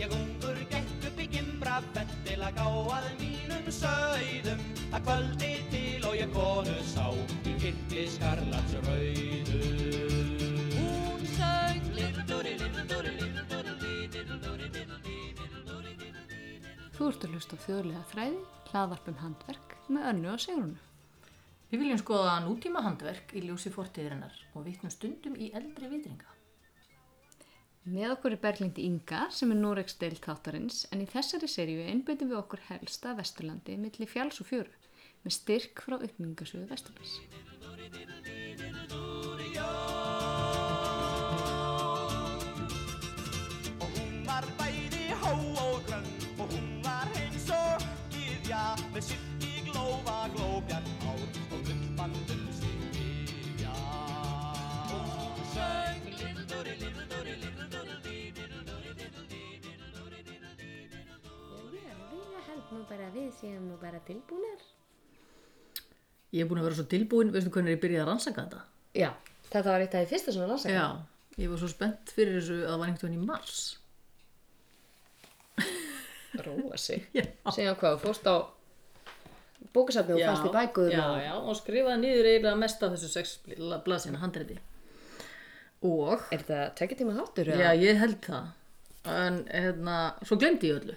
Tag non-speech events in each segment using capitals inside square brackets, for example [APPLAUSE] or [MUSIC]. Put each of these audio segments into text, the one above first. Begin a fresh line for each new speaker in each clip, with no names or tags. Ég ungur gekk upp í gimbra fett til að gá að mínum sögðum að kvöldi til og ég konu sá í kitti skarlats rauðu Hún sög Little-dúri, little-dúri, little-dúri, little-dúri, little-dúri, little-dúri, little-dúri
Þú ert að hlusta á þjóðlega þræði, hlaðvarpum handverk með önnu og sigrunu.
Við viljum skoða nútíma handverk í ljósi fortíðirinnar og vitnum stundum í eldri vitringa.
Með okkur er Berglind Inga sem er Norex deil þáttarins en í þessari seríu einbyttum við okkur helsta Vesturlandi milli fjáls og fjöru með styrk frá uppmyngasöðu Vesturlands.
Og hún var bæði hó og grönn Og hún var eins og gyðja Með sitt í glófa glóbjarn ár Og gumbandum sig viðja Og hún söng Little-dúri, little-dúri, little-dúri
Já, ég held nú bara að við séum nú bara tilbúnar.
Ég er búin að vera svo tilbúin, veistu hvernig ég byrjaði að rannsaka þetta?
Já, þetta var eitt af því fyrsta svona rannsaka.
Já, ég var svo spennt fyrir þessu að það var einhvern veginn í mars.
Róa
[LAUGHS]
sig.
Já.
Segja hvað, þú fórst á bókasafni og fannst í bækuðum.
Já,
og-
já, og skrifaði niður eiginlega mest af þessu sex blaðsina handreiti. Og,
Er þetta tekið tíma þáttur?
já, ég held það. En, hérna, svo glemdi ég öllu.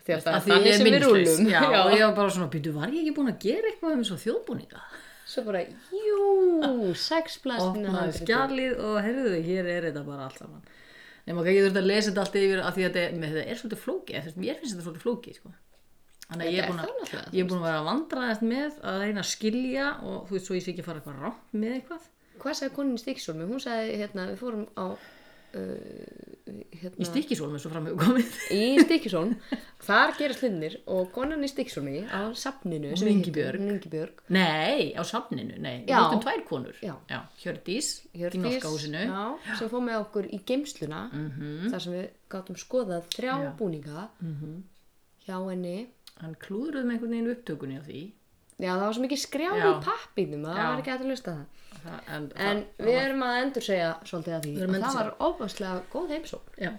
Því að það
Af
er
því ég
þannig
er
sem við
minnislaus.
rúlum.
[LAUGHS] Já, og ég var bara svona, býtu, var ég ekki búin að gera eitthvað um þessu þjóðbúninga?
Svo bara, jú, sex plastina
opnaði skjalið og herruðu, hér er þetta bara allt saman nema ekki, ég þurfti að lesa þetta allt yfir að því að þetta, með þetta er svolítið flókið eða þú veist, mér finnst þetta svolítið flókið sko. þannig að ég
Þetta er
er búin
það náttúrulega,
að ég er búin að vera að vandra þetta með að reyna að skilja og þú veist, svo ég sé ekki að fara eitthvað rátt með eitthvað
Hvað sagði konin Stíksólmi? Hún sagði, hérna, við fórum á... Uh, hérna,
í stikkisólmi svo framhefur komið [LAUGHS]
í Stikksón þar gerast hlutinir og konan í Stikksóni á safninu sem við
Ingibjörg.
hittum, Ingibjörg
nei, á safninu, nei, við
Já.
hittum tvær konur
Já.
Hjördís, Hjördís í
Hjördís,
norska húsinu Mhm.
já, sem fór með okkur í geimsluna þar sem við gátum skoðað þrjá
Já. Mhm.
búninga hjá henni
hann klúðruð með einhvern veginn upptökunni á því
já það var svo mikið skrjáð í
Já.
pappinum það
Já.
var ekki hægt að lösta það
Það- en,
en
það-
við erum að endur segja svolítið að því
Við erum að
að það var
endursegja.
ofaslega góð heimsókn
já,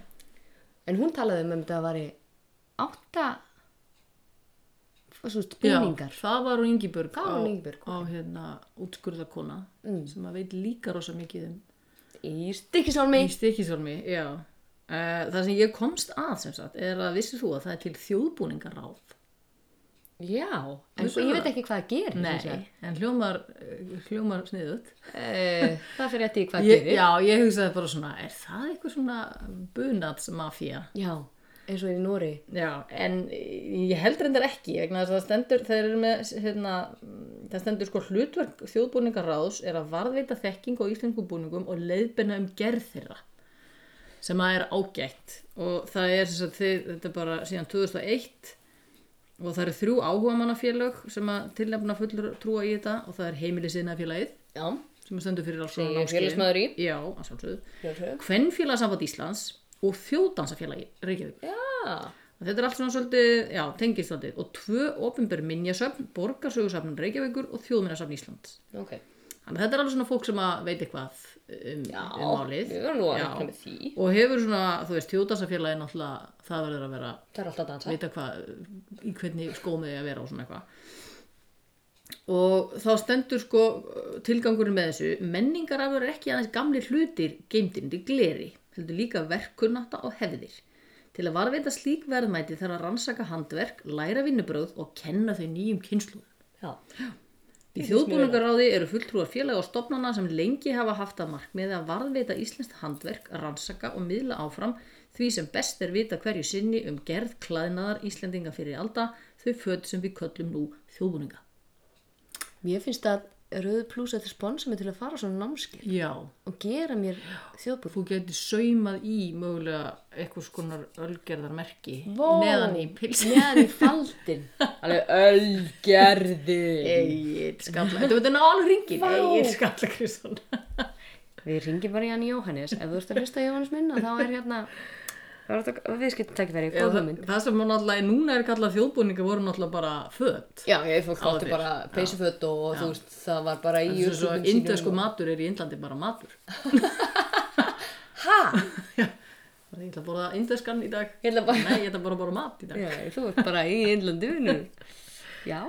en hún talaði um að þetta var í átta svo veist,
Já,
búningar
það var hún Ingibjörg
Það var hún Ingibjörg, Mm.
á, á hérna útskurðarkona sem að veit líka rosa mikið um
í Stikksólmi
í stikisólmi já. Uh, það sem ég komst að sem sagt er að vissir þú að það er til þjóðbúningaráð
já, en
Vissu
ég
það?
veit ekki hvað það gerir sem sagt.
nei, en hljómar eh, hljómar sniðut
Eh, það fyrir eftir því hvað
ég,
gerir
já, ég hugsaði bara svona er það eitthvað svona bunatsmafía
já, eins og í Nóri
Já, en ég held reyndar ekki vegna þess að það stendur, þeir eru með hérna, mm, það stendur sko hlutverk þjóðbúningaráðs er að varðveita þekking á íslensku búningum og leiðbyrna um gerð þeirra sem að er ágætt og það er þess að þið, þetta er bara síðan 2001 og það eru þrjú áhugamannafélög sem að tilnefna fullur trúa í þetta og það er heimilisinaðfélagið
já,
sem að stendur fyrir alls
Sem ég
konar
er
námskeiðum.
félagsmaður í.
Já, að sjálfsögðu.
Sjálfsögðu.
Kvenfélagsamband Íslands og þjóðdansafélagi Reykjavík
já
Og Þetta er allt svona svolítið, já, tengist svolítið og tvö ofinber minjasöfn, borgarsögusafn Reykjavíkur og þjóðminnasöfn Íslands.
ok,
Þannig að þetta er alveg svona fólk sem að veit eitthvað um,
já,
um málið.
við verðum nú að
Já.
rekna með því
Og hefur svona, þú veist, þjóðdansafélagi náttúrulega, það verður að vera,
það er alltaf að dansa
vita hvað, í hvernig skómiði að vera og svona eitthvað. Og þá stendur sko tilgangurinn með þessu, menningarafur er ekki aðeins gamli hlutir geimdinn í gleri, heldur líka verkunnáta og hefðir. Til að varveita slík verðmæti þarf að rannsaka handverk, læra vinnubröð og kenna þau nýjum kynsluðum.
já,
Í þjóðbúningaráði eru fulltrúar félaga og stofnana sem lengi hafa haft að markmiði að varðveita íslenskt handverk, rannsaka og miðla áfram því sem best er vita hverju sinni um gerð klæðnaðar Íslendinga fyrir alda þau föt sem við köllum nú þjóðbúninga.
mér finnst að rauðu pluss eftir sponsa mig til að fara á svona námskeið
Já,
og gera mér þjóðbúr
þú getur saumað í mögulega eitthvað skonar ölgerðarmerki
Vó!
neðan í pilsi. [LAUGHS]
[LAUGHS] meðan í faldin alveg ölgerði
Egið skalla, þetta verður ná alveg ringin,
Vá!
Egið skalla Kristján.
við ringjum bara í hann Jóhannes ef þú ert að hlusta á Jóhannes minn að þá er hérna þá er þetta viðskipt tækifæri
Já,
góð
það,
hugmynd
það sem var náttúrulega, núna er kallað þjóðbúninga voru náttúrulega bara föt.
já, ég fólk
átti bara
peysuföt og þú veist það var bara í
Þessu svo indesku matur er í Indlandi bara matur.
ha?
Það ég ætla að borða indeskan í dag
Ég ætla bara
nei, ég ætla bara að borða mat í dag já,
Já, þú ert bara í innlandinu. Já,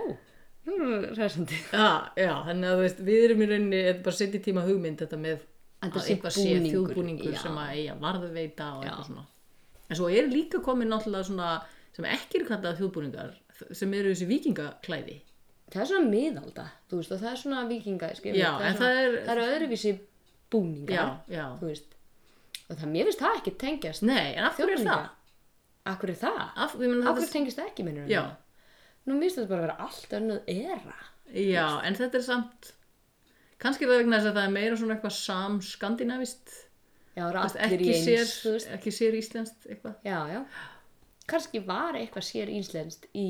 þú eru ræsandi.
já, þannig að þú veist, við erum í rauninni þetta er bara setja í tíma hugmynd þetta með
Að þetta
að
sé
eitthvað sé
búningur,
þjóðbúningur
já.
sem að eiga varðveita og
Já.
eitthvað svona en svo er líka komin náttúrulega svona sem ekki eru kallað þjóðbúningar sem eru þessi vikingaklæði
Það er svona miðalda, þú veist, og það er svona vikinga, skiljum.
Já, en það er-
Það eru öðruvísi búningar,
já, já,
þú veist. Og það, mér finnst það ekki tengjast.
nei, en af hverju er það?
þjóðbúninga. Akkur er það?
af, ég meina,
Af
þetta
hverju tengist það ekki, minnur
Já.
Nú minnst þetta bara að vera allt önnað era.
Já, en þetta er samt kannski er það vegna þess að það er meira svona eitthvað samskandinavist
Já, það eru allir í
ekki,
eins, þú
sér-
veist.
ekki sér íslenskt eitthvað
Já, já. Kanski var eitthvað sér íslenskt í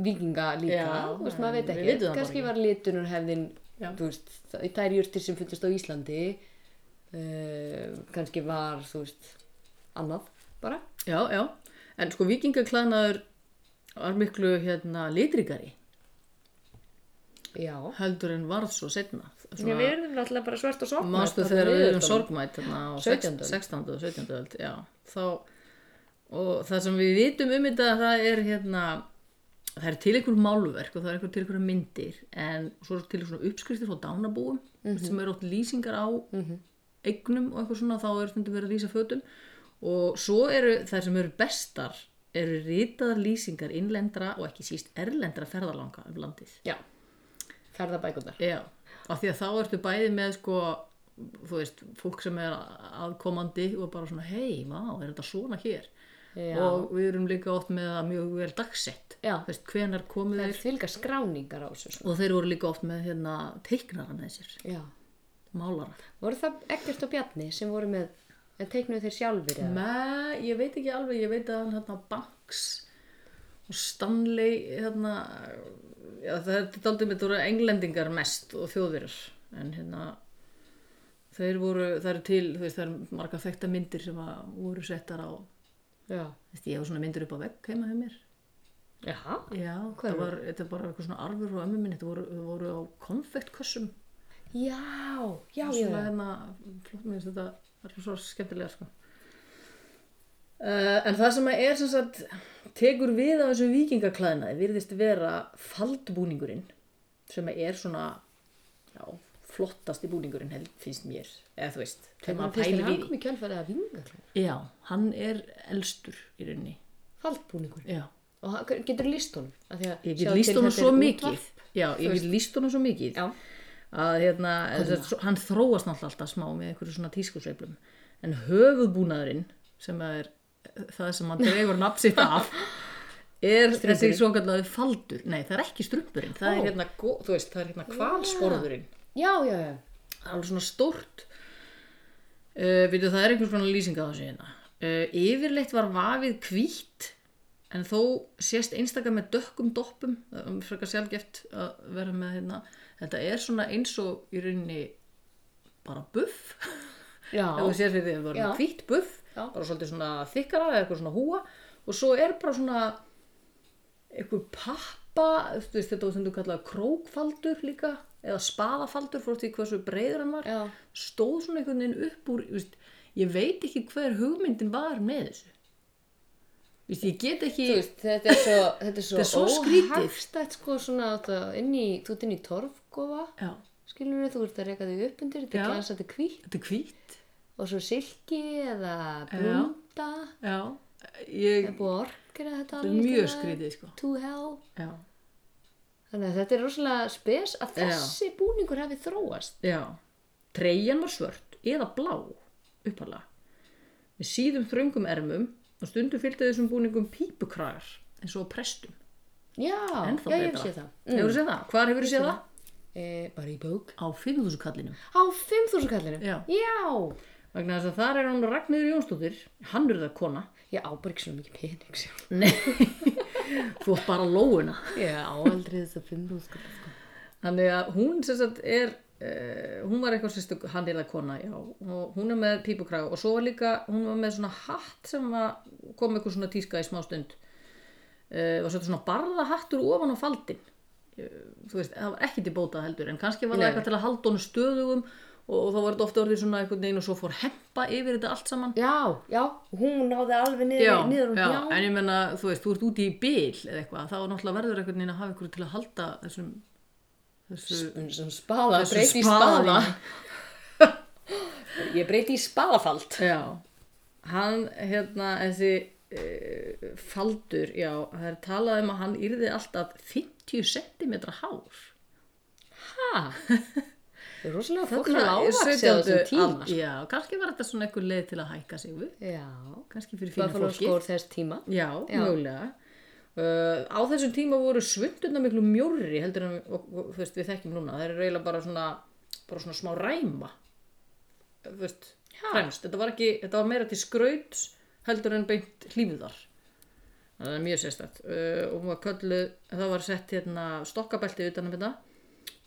vikinga líka,
Já,
þú veist, maður veit
við
ekki.
vitum það bara
Kanski
ekki.
var litunarhefðin,
Já.
þú veist, það, þær jurtir sem fundist á Íslandi, uh, kannski var, þú veist, annað bara.
Já, já, en sko vikingaklæðnaður var miklu hérna litrikari
Já.
heldur en varð svo setna
Svona, við erum náttúrulega bara svart og sorgmætt.
Mástu þegar við erum sorgmætt þarna á
17.
16. 16. og 17. öld, já, þá og það sem við vitum um þetta það er hérna það er til einhver málverk og það er einhver til einhverja myndir en svo er til svona uppskriftir frá dánabúum sem eru oft lýsingar á eignum og eitthvað svona þá er stundum verið að lýsa fötum og svo eru þær sem eru bestar eru ritaðar lýsingar innlendra og ekki síst erlendra ferðalanga um landið
Já. Ferðabækundar.
Já, af því að þá ertu bæði með sko, þú veist, fólk sem er aðkomandi og bara svona, hei, vá, er þetta svona hér?
Já.
Og við erum líka oft með það mjög vel dagsett,
Já.
þú veist, hvenar komu
Það
þeir
er þvilga skráningar á þessu. Svona.
og þeir voru líka oft með hérna teiknara með sér,
Já.
málara.
Voru það Eggert og Bjarni sem voru með, en teiknuðu þeir sjálfur eða?
Með, ég veit ekki alveg, ég veit að hann hérna Banks og Stanley, hérna, já, það er þetta aldrei með þetta voru englendingar mest og þjóðverjar, en hérna, þeir voru, það eru til, þú veist, það eru marga þekta myndir sem að voru settar á,
Já.
þú veist, ég hef svona myndir upp á vegg heima hjá mér.
Já.
Já,
er
það var, þetta er bara eitthvað svona arfur og ömmu minn, þetta voru, þetta voru á konfektkössum,
Já, já,
svona
já.
hérna, flott mér finnst þetta það er svo skemmtilega sko. uh, en það sem að er sem sagt, tekur við á þessu vikingaklæðnaði virðist vera faldbúningurinn sem að er svona já, flottasti búningurinn held, finnst mér, eða þú veist þegar
Þegar
maður pælir
hann
við
kom í kjölfarið að vingaklæða.
því já, hann er elstur í rauninni
Haldbúningur.
já.
Og hann- getur list honum. af því að-
ég
sjáðu
get
til
líst honum
þetta
svo
er
mikið
útvarp.
já, ég get líst honum svo mikið
Já.
að hérna, þess að, svo- hann þróast náttúrulega alltaf smá með einhverju svona tískusveiflum en höfuðbúnaðurinn sem að er það sem hann dregur nafnsitt af er þessi svo kallaði faldur nei það er ekki strumpurinn það
Ó.
er hérna, gó- þú veist, það er hérna kvalsporðurinn
Já, já, já.
það er alveg svona stórt uh, við það er einhvers konar lýsing á þessu hérna uh, yfirleitt var vafið hvítt en þó sést einstaka með dökkum doppum það er frekar sjálfgeft að vera með hérna þetta er svona eins og í rauninni bara buff
Já.
ef þú sér fyrir því að það
Já.
var hvítt buff
Já.
bara svolítið svona þykkara eða eitthvað svona húa og svo er bara svona eitthvað pappa þú veist þetta var sem þú kallaði krókfaldur líka eða spaðafaldur fór því hversu breiður hann var
Já.
stóð svona einhvern veginn upp úr þú veist, ég veit ekki hver hugmyndin var með þessu Þú veist, ég get ekki
Þú veist, þetta er svo, þetta er svo,
Þetta er svo skrítið.
óhagstætt, sko svona þetta, inn í, þú ert inn í torfgófa,
Já,
skilur þú ert að reyka þig upp undir, þetta
Já.
er glasandi hvítt
þetta er hvít
og svo silki eða blunda,
Já,
það
ég,
er búið að orkera þetta
þetta er
alveg
mjög
til að-
skrítið sko.
To hell.
Já,
Þannig að þetta er rosalega spes að
Já.
þessi búningur hafi þróast.
já Treyjan var svört eða blá uppalega með síðum þröngum ermum og stundum fylgdi þessum búningum pípukragar eins og á prestum
Já,
Ennþá
já,
betra
ég sé það. Mm.
Hefur séð það? Hvar hefur séð það?
E, bara í bók.
Á 5000 kallinum
Á 5.000 kallinu?
Já.
Já,
vegna þess að þar er hann Ragnir Jónsdóttir hannurðarkona
ég á bara ekki svona mikið pening sjá.
Nei, þú átt bara lóuna
Ég á aldrei þess að 5.000 kallinu. Sko.
Þannig að hún sem sagt er uh, hún var eitthvað sérstök hannirða kona já, og hún er með pípukraga og svo var líka, hún var með svona hatt sem var, kom eitthvað svona tíska í smástund uh, var svona barðahattur ofan á Eh, faldin uh, þú veist, það var ekki til bóta heldur en kannski var það
Nei.
eitthvað til að halda honum stöðugum og, og þá var þetta ofta orðið svona einhvern veginn og svo fór hempa yfir þetta allt saman
Já, já, hún náði alveg niður,
já,
niður
já,
já,
en ég menna, þú veist, þú ert úti í bil eða eitthvað, þá náttúrulega verður einhvern veginn að hafa einhverju til að halda þessum þessu,
en sem spaða,
þessu
breyti í spaða ég breyti í spaðafald
já, hann hérna, þessi uh, faldur, já, það er talað um að hann yrði alltaf 50 cm hár hæ?
það er
[LAUGHS]
rosalega fólk að lágvaxið á þessum tíma sko.
tíma já, kannski var þetta svona einhver leið til að hækka sig upp
já,
kannski fyrir fína
buffalo
fólki
skór þess tíma
Já, mögulega. Uh, á þessum tíma voru svundurna miklu mjórri heldur en og, og, þú veist, við þekkjum núna. Það eru eiginlega bara svona, bara svona smá ræma. Þú veist, fremst. Þetta var, ekki, þetta var meira til skraut heldur en beint hlífðar. Það er mjög sérstætt. Uh, og hún var kölluð, það var sett hérna stokkabelti utanum þetta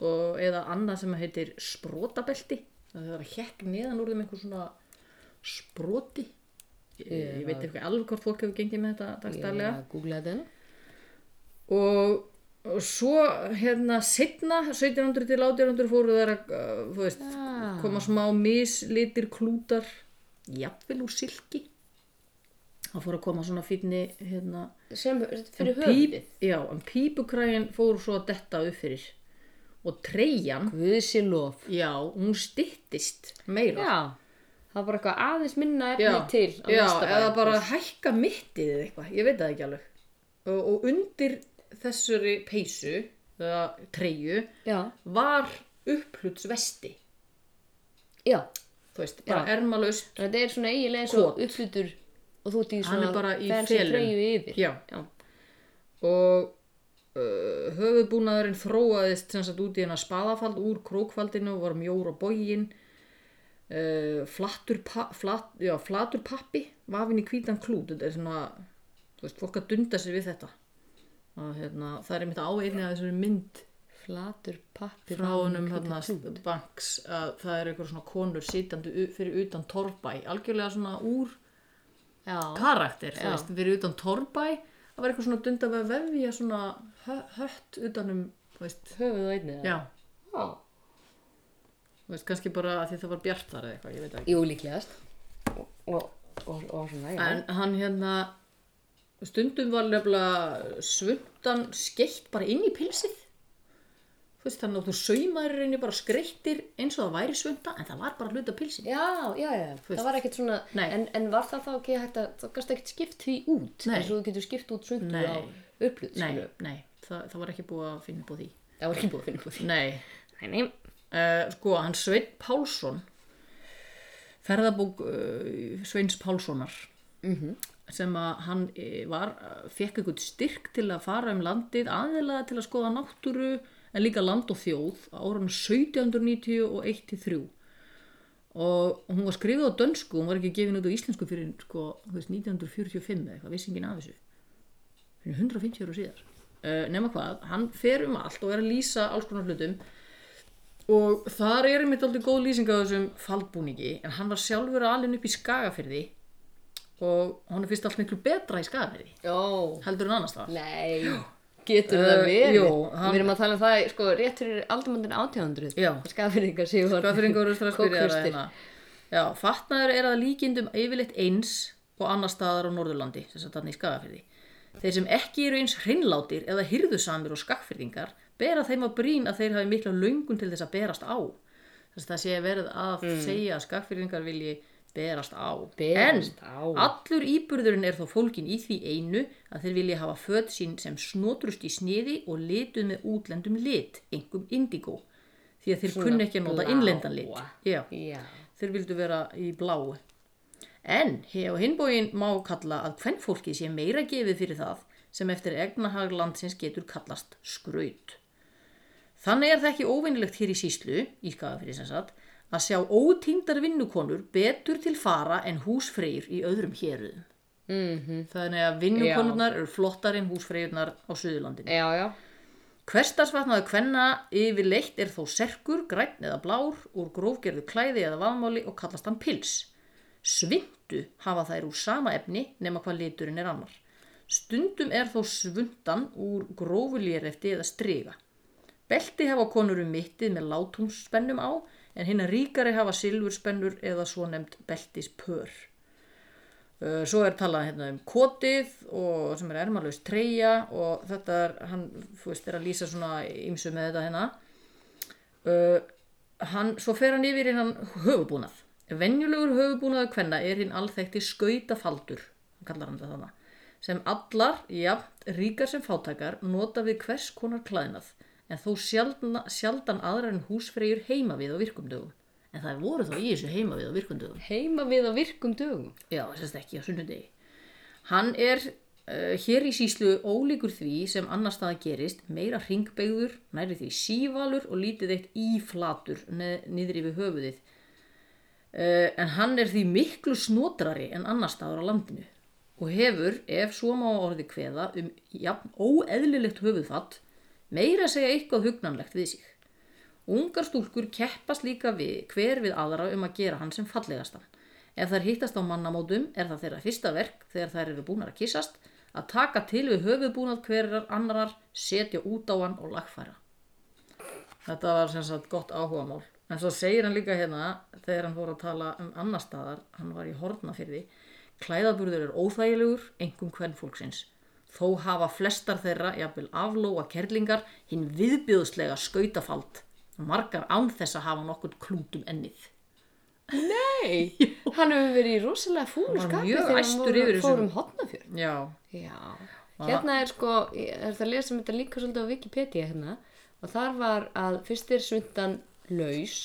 og eða annað sem heitir sprótabelti. Það var að hekk neðan úr þeim einhver svona sproti. Ég, ég veit ekki alveg hvort fólk hefur gengið með þetta dagstælega
ég googla þetta
og, og svo hérna setna 1700 til 1800 fóru þær að uh, þú veist, koma smá mislitir klútar jafnvel úr silki það fóru að koma svona fínni hérna,
sem fyrir höfðið
píp, já, en pípukræin fóru svo að detta upp fyrir og treyjan
Guðsi lof
já, hún styttist meira
já, það var bara eitthvað aðeins minna efni
já,
til á
já
næsta bæ.
eða bara hækka mittið eða eitthvað, ég veit það ekki alveg og, og undir þessari peysu eða treyju
já,
var upphutsvesti
já,
þú veist, bara ermalaust
þetta er svona eiginlega eins og
Kot.
uppflutur og þú ert í
Hann er
svona
bara í
fancy
felum.
treyju yfir
Já. og uh, höfuðbúnaðurinn þróaðist sem sagt út í hennar spaðafald úr krókfaldinu og var mjór á bógin uh, flattur, pa, flat, já, flattur pappi vafin í hvítan klút þetta er svona, þú veist, fólk að dunda sér við þetta að, hérna, það er mitt á einni að þessari mynd
flatur pappir
frá honum hérna banks að það er einhver svona konur sitjandi u- fyrir utan torrbæ algjörlega svona úr
já,
karakter, þú
Já.
veist, fyrir utan Torbæ það var eitthvað svona dund af að vefja svona hö- hött utanum þú veist,
höfuð og einnið
já,
já,
þú veist, kannski bara að því það var bjartar eða eitthvað, ég veit það ekki
jú líklegast og, og, og, og svona, já
en hann hérna stundum var nefnilega svundan skeitt bara inn í pilsið þú veist, þannig að þú saumaður inni bara skreittir eins og það væri svunda en það var bara hluta pilsið
Já, já, já, það var ekkert svona,
Nei.
en, en var það þá ekki hægt að, það gæst ekkert skipt því út,
Nei.
eins og þú getur skipt út sundu
Nei.
á upplut,
nei,
skilur.
nei, það, það var ekki búið að finna upp á því
Það var ekki búið að finna búið því.
nei,
Nei, nei,
Eh, sko, hann Sveinn Pálsson ferðabók uh, Sveins Pálssonar sem að hann eh, var fekk eitthvað styrk til að fara um landið aðeinslega til að skoða náttúru en líka land og þjóð á árunum 1790 og 1-3 og hún var skrifið á dönsku hún var ekki gefin út á íslensku fyrir sko, þú veist, 1945 eða eitthvað, vissi enginn af þessu fyrir 150 ára síðar uh, nema hvað, hann fer um allt og er að lýsa alls konar hlutum og þar er einmitt aldrei góð lýsing á þessum faldbúningi en hann var sjálfur alinn upp í skagafyrði og hann er fyrst allt miklu betra í skagafyrði
ó,
heldur en annars það
nei, getur
Eh,
það verið.
jú, hann-
Við erum að tala um það, sko, rétt fyrir aldamöndin 1800.
Já.
Skafirðingar séu var.
skagafyrðingur er strax byrjað að
Kókhlustir.
hérna já, fatnaður er að líkindum yfirleitt eins og annar staðar á Norðurlandi sem satt hann í skagafyrði þeir sem ekki eru eins hreinlátir eða hyrðusamir og skagfyrðingar bera þeim að brín að þeir hafi mikla löngun til þess að berast á þess að það sé verið að
Mm.
segja að skagfyrðingar vilji berast á
Berast
en
á.
Allur íburðurinn er þó fólkin í því einu að þeir vilja hafa föt sín sem snotrust í sniði og lituð með útlendum lit, engum indigo. Því að þeir kunni ekki að nota
bláa.
innlendan lit. Já,
Já,
þeir vildu vera í bláu. En hef á hinbógin má kalla að kvennfólki sé meira gefið fyrir það sem eftir egnahag landsins getur kallast skraut. Þannig er það ekki óvinnilegt hér í síslu, í skafafyrir sem sagt, að sjá ótíndar vinnukonur betur til fara en húsfreyr í öðrum héruðum.
Mhm.
-hmm. Þannig að vinnukonurnar eru flottar en húsfreyjurnar á Suðurlandinu.
já, já.
Hverstarsvatnaðu kvenna yfirleitt er þó serkur, grænn eða blár, úr grófgerðu klæði eða vaðmáli og kallast hann pils. Svindu hafa þær úr sama efni nema hvað liturinn er annar. Stundum er þó svundan úr grófulérefti eða striga. Belti hafa konur um mittið með látúmsspennum á en hinna ríkari hafa silfurspennur eða svo nefnd beltispör. Uh, Svo er talað hérna um kotið og sem er ermalust treyja og þetta er, hann, þú veist, er að lýsa svona ýmsu með þetta hérna. Uh, hann, svo fer hann yfir í hann höfubúnað. Venjulegur höfubúnaður kvenna er hinn alþekti skautafaldur, hann kallar hann það þannig, sem allar, jafnt, ríkar sem fátækar, nota við hvers konar klæðnað, en þó sjaldan, sjaldan aðrar en húsfreyjur heima við á virkum dögum. En það voru þá í þessu heima við á virkum dögum.
Heima við á virkum dögum.
Já, sérst ekki á sunnudegi. Hann er uh, hér í síslu ólíkur því sem annar staða gerist, meira hringbeigður, næri því sívalur og lítið eitt íflatur neð, niður yfir höfuðið. Uh, en hann er því miklu snotrari en annar staðar á landinu og hefur, ef svo má orði kveða, um jafn óeðlilegt höfuðfatt, meira að segja eitthvað hugnanlegt við sig. Ungar stúlkur keppast líka við hver við aðra um að gera hann sem fallegastan. Ef þær hittast á mannamótum er það þeirra fyrsta verk þegar þær eru búnar að kissast að taka til við höfuðbúnað hverjar annarar, setja út á hann og lagfæra. Þetta var sem sagt gott áhugamál. En svo segir hann líka hérna þegar hann fór að tala um annar staðar, hann var í hornafyrði, klæðaburður er óþægilegur, engum hvern fólksins. Þó hafa flestar þeirra, jafnvel aflóa kerlingar, hinn viðbjöðslega skautafald. Margar án þess að hafa nokkurn klútum ennið.
Nei, hann hefur verið í rosalega fúlu
Hann var
skapi
mjög
þegar hann
æstur
voru,
yfir þessu.
fórum hotnafjörn.
Já,
Já, hérna er sko, ég er það að lesa um þetta líka svolítið á Wikipedia hérna og þar var að fyrst er sundan laus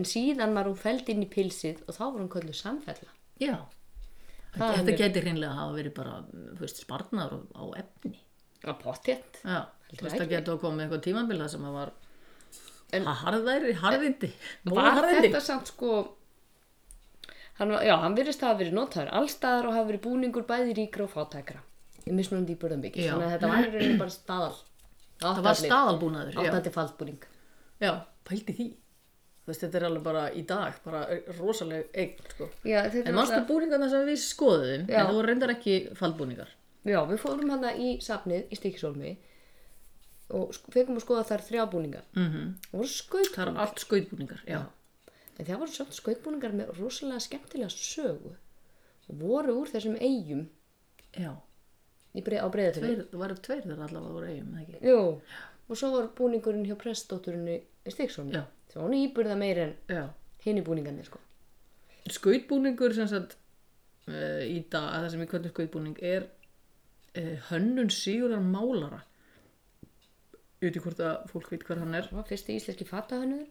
en síðan var hún feld inn í pilsið og þá var hún kölluð samfella.
Já,
Það
þetta,
er
þetta
mjög-
geti hreinlega hafa verið bara, þú veist, sparnar á, á efni.
Að pottjett.
Já, þú veist, það
ekki.
geti að koma með eitthvað tímambil það sem að var
En-
en, harðæri, harðindi,
Var
móðharðindi.
þetta samt sko, hann, var, já, hann virðist að hafa verið notaður allstaðar og hafa verið búningur bæði ríkra og fátækra. Ég misnum því burðum ekki,
Já.
þannig að þetta var í rauninni bara staðal.
Það var staðalbúnaður, já.
Áttandi faldbúning.
Já, pældi því. Þú veist, þetta er alveg bara í dag, bara rosaleg eign, sko.
Já, þetta er
En manstu
náttúrulega-
búningarna sem við skoðum,
Já.
en þú reyndar ekki fallbúningar.
Já, við fórum hana í safnið í Stíkisólmi og sk- fengum að skoða þar þrjá búninga. Mm -hmm. Það voru
Það eru
skautbúningar.
allt skautbúningar, já.
En það voru samt skautbúningar með rosalega skemmtilega sögu. Og voru úr þessum eigum
Já,
í breið, á breyðatölu.
tveir, það varum tveir þegar allavega voru eigum, eða ekki?
Jú, og svo var búningurinn hjá prestdótturinni í Stíkisólmi.
Já.
Svo hún íburða meir en
Já.
hinn í búningarnir, sko.
skautbúningur sem sagt uh, í dag, að það sem við kvöldum skautbúning er uh, hönnun Sigurðar Málara ég veit ekki hvort að fólk veit hver hann er
Það var fyrsti íslenski fatahönnuður.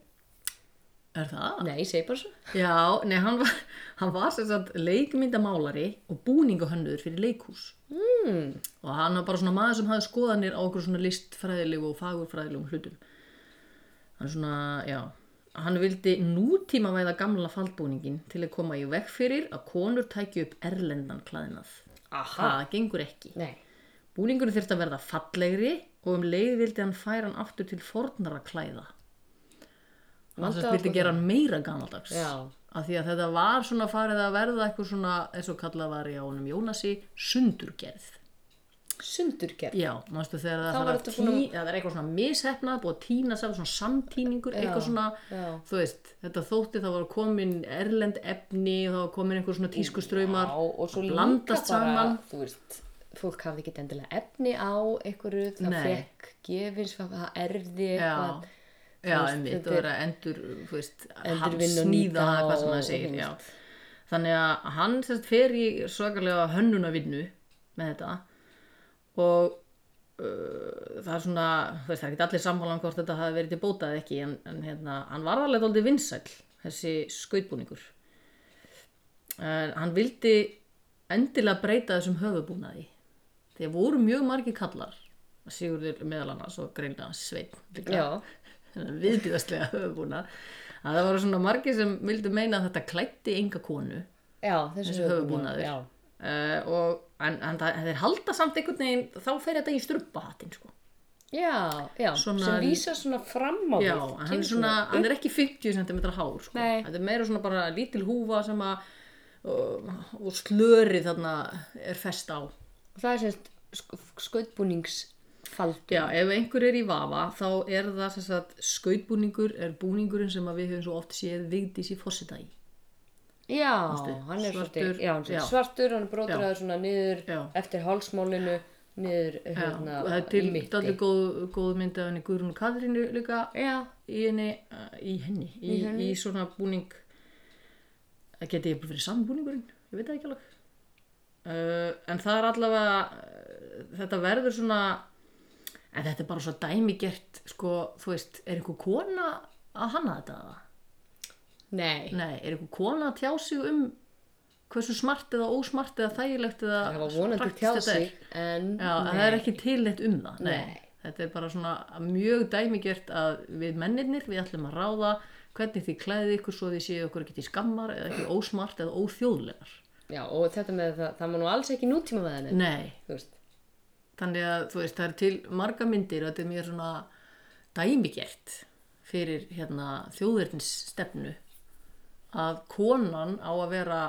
er það?
Nei, ég segi bara svo.
Já, nei, hann var, hann var sem sagt leikmyndamálari og búningahönnur fyrir leikhús mm. og hann var bara svona maður sem hafði skoðanir á okkur svona listfræðilegu og fagurfræðilegum hlutum hann svona, já hann vildi nútíma væða gamla faldbúningin til að koma í veg fyrir að konur tæki upp erlendan klæðinað það gengur ekki
Nei.
búningurinn þurfti að verða fallegri og um leið vildi hann færa hann aftur til fornara klæða hann
Vanda
sérst vildi
okkur-
gera hann meira gammaldags
Já.
af því að þetta var svona farið að verða eitthvað svona, eins og kallað var í ánum Jónasi, sundurgerð
Sundurgerð.
já, manstu þegar það,
Þá
það,
var
að
þetta
tí,
búin að-
það er eitthvað svona mishefnað búið að tína saman svona samtíningur eitthvað svona,
já.
þú veist þetta þótti það var komin erlend efni og það var komin einhver svona tískustraumar
Já, og svo líka bara,
blandast saman
þú veist, fólk hafði ekki endilega efni á einhverju, það
Nei.
fekk gefins, það erði
já,
eitthvað.
já
veist,
einmitt,
þetta
það verður að endur þú veist,
Endurvinna og
sníða
nýta
hvað sem
og-
það
og
segir
þú
já. þannig að hann sérst, fer í svakalega hönnunavinnu með þetta og uh, það er svona þú veist, það er ekki allir sammálan hvort þetta hafi verið til bóta eða ekki, en, en hérna, hann var alveg dálítið vinsæll, þessi skautbúningur en hann vildi endilega breyta þessum höfubúnaði þegar voru mjög margir kallar Sigurður meðal annars og greinlega Sveinn líka
Já.
þennan viðbjöðslega höfubúnað að það voru svona margir sem vildu meina að þetta klætti enga konu
Já, þessu
þessi höfubúnaður
Já,
Eh, og, en, en það, þeir halda samt einhvern veginn þá fer þetta í strumpahattin sko.
já, já
Svona-
sem vísa svona fram á við.
já, en hann,
kemur
er svona, hann er ekki 50 cm hár sko.
Nei.
þetta er meira svona bara lítil húfa sem að og, og slöri þarna er fest á
Það er semst sk skautbúnings faldi
Já, ef einhver er í vafa þá er það sem sagt skautbúningur er búningurinn sem að við höfum svo oft séð vigdís í fósita í.
já, hann er
Svartur,
svolítið já, hann er
já.
svartur, hann er brótraður svona niður
Já.
eftir hálsmálinu niður
Já,
hérna,
og það er til
í mitti.
allir góð, góð mynd af henni Guðrún og Katrínu líka
já,
í henni, uh, í henni, í, í, svona búning það geti ég bara verið sami búningurinn ég veit það ekki alveg uh, en það er allavega uh, þetta verður svona en þetta er bara svo dæmigert sko, þú veist, er einhver kona að hanna þetta eða?
nei
Nei, er einhver kona að tjá sig um hversu smart eða ósmart eða þægilegt eða
það var vonandi
Ah, praktískt
tjá
þetta er?
sig en
Já, en það er ekki tilnett um það. Nei.
Nei.
Þetta er bara svona mjög dæmigert að við mennirnir, við ætlum að ráða hvernig þið klæðið ykkur svo þið séu okkur ekki til skammar eða ekki ósmart eða óþjóðlegar.
já, og þetta með það, það má nú alls ekki nútíma með henni
Nei,
þú veist,
þannig að þú veist, það er til marga myndir og þetta er mjög svona dæmigert fyrir hérna, þjóðverðins stefnu að konan á að vera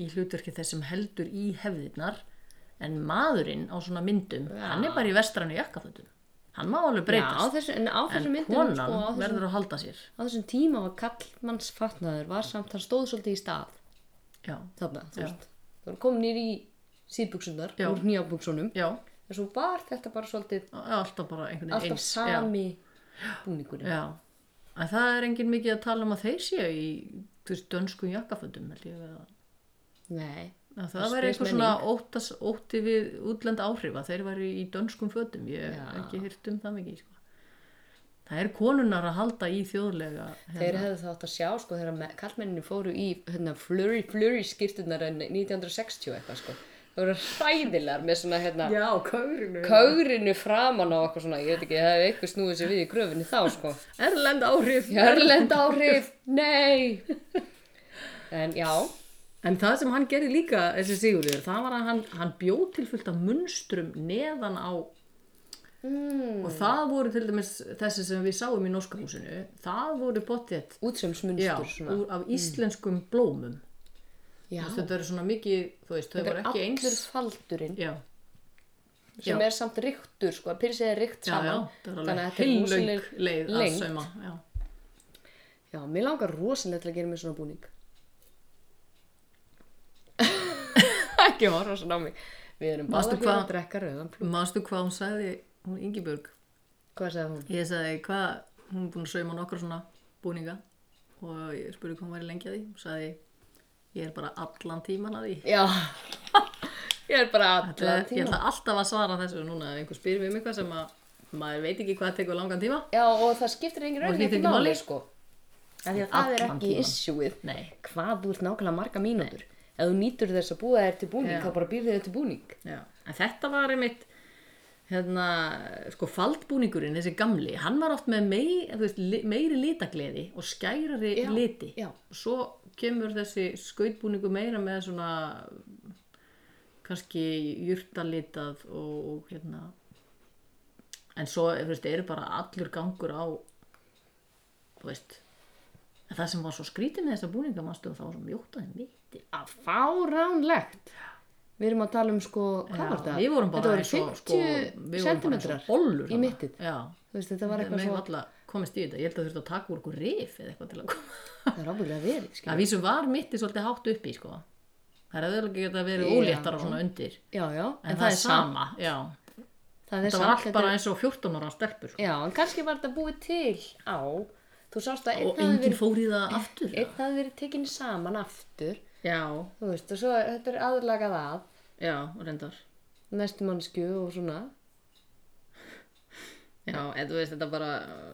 í hlutverki þess sem heldur í hefðirnar en maðurinn á svona myndum, hann er bara í vestrannu jakkafötum. Hann má
já,
alveg
á
breytast.
þessu, en á
en
þessu myndum
konan
sko, á þessum-
verður að halda sér
á þessum tíma var kallmannsfatnaður var samt, hann stóð svolítið í stað
já,
þarna, þú
Já.
veist það var komin nýr í síðbuksunar
Já.
úr nýjabuksunum,
já,
en svo var þetta bara svolítið
alltaf bara einhvern veginn
alltaf
eins
sami búningurinn
já, já. En það er enginn mikið að tala um að þeir séu í þú veist, dönsku jakkaföndum held ég að
nei, Það
að það væri
spyr
eitthvað svona óttas, ótti við útlend áhrif að þeir væri í dönskum fötum ég hef
Já.
ekki hýrt um það mikið sko. það er konunar að halda í þjóðlega hérna.
þeir hefðu þátt að sjá sko þegar me- kallmenninni fóru í hérna, flurry, flurry skýrtunar 1960 eitthvað sko það voru hræðilar með svona hérna
já, kaurinu
kögrinu framan á eitthvað svona ég veit ekki, það hefði eitthvað snúið sér við í gröfinni þá sko
erlend áhrif
Hjörlend áhrif, nei en já
En það sem hann gerði líka, þessi Sigurður, það var að hann, hann bjóð til fullt af munstrum neðan á
mm,
og það voru til dæmis þessi sem við sáum í Norskahúsinu, það voru bóttið já,
útsömsmunstur svona Mm.
úr, af íslenskum blómum.
já,
Þess, þetta eru svona mikið, þú veist, þau
þetta
voru
er
ekki
allur
eins.
faldurinn
Já,
sem
Já.
er samt ryktur sko, pilsið er rykt
já, já,
saman
það er
þannig að
alveg
þetta er
heillöng
rosaleg
leið að
lengt.
sauma. Já,
Já, mér langar rosalega til að gera mér svona
[LAUGHS]
búning Ekki horfa svona á mig Við erum
Manstu
báðar hér
hvað-
að drekka rauðan plúm
Manstu hvað hún sagði, hún Ingibjörg,
Hvað sagði hún?
Ég sagði hvað, hún er búin að sauma nokkra svona búninga og ég spurði hvað hún væri lengi að því og sagði ég er bara allan tíman að því.
Já [LAUGHS] Ég er bara
Allan
allan
Ég ætla
tíma
alltaf að svara þessu núna ef einhver spyrir mig um eitthvað sem að maður veit ekki hvað tekur langan tíma.
Já, og það skiptir engin
Og
raun
skiptir
ekki
ekki máli.
máli sko Af því að Það er
Allan
ekki
tímann.
issueið
Nei.
Hvað þú ert nákvæmlega marga mínútur Ef þú nýtur þess að búa þér til búning
Já.
þá bara býr þér til búning
Já. En þetta var einmitt, hérna, sko faldbúningurinn, þessi gamli, hann var oft með mei, þú veist, li- meiri litagleði og skærari
Já,
liti.
já.
Svo kemur þessi skautbúningu meira með svona, kannski jurtalitað og, og hérna, en svo, þú veist, eru bara allur gangur á, þú veist, en það sem var svo skrítið með þessa búninga, mannstu, þá var svo mjótaði mitti.
Að fáránlegt Við erum að tala um sko, hvað var
Já,
það?
Við vorum bara
Þetta voru
eins og,
50
sko, við vorum bara eins og
sentimetrar
bollur
í
þarna.
mittið.
Já,
Þú veist, þetta var
við
eitthvað
hefum
svo,
alltaf komist í þetta. Ég held að þurftu að taka úr okkur rif eða eitthvað til að
[LAUGHS]
koma.
það er ábyggilega verið,
Já,
skilja.
við sem var mittið svolítið hátt upp í, sko. Það er auðvitað ekki að vera
Já.
óléttar og svona undir.
Já, já,
En, það, er sama, já.
Það er
Þetta
samt,
var allt
þetta er-
bara eins og 14 ára stelpur, sko.
Já, en kannski var þetta búið til á, þú sást að
Og
einn hafði
enginn
verið,
fór í það aftur.
einn hafði verið tekinni saman aftur,
Já,
þú veist, og svo er, þetta er aðlagað að,
já, reyndar.
næstu mannsku og svona.
Já, en þú veist, þetta bara,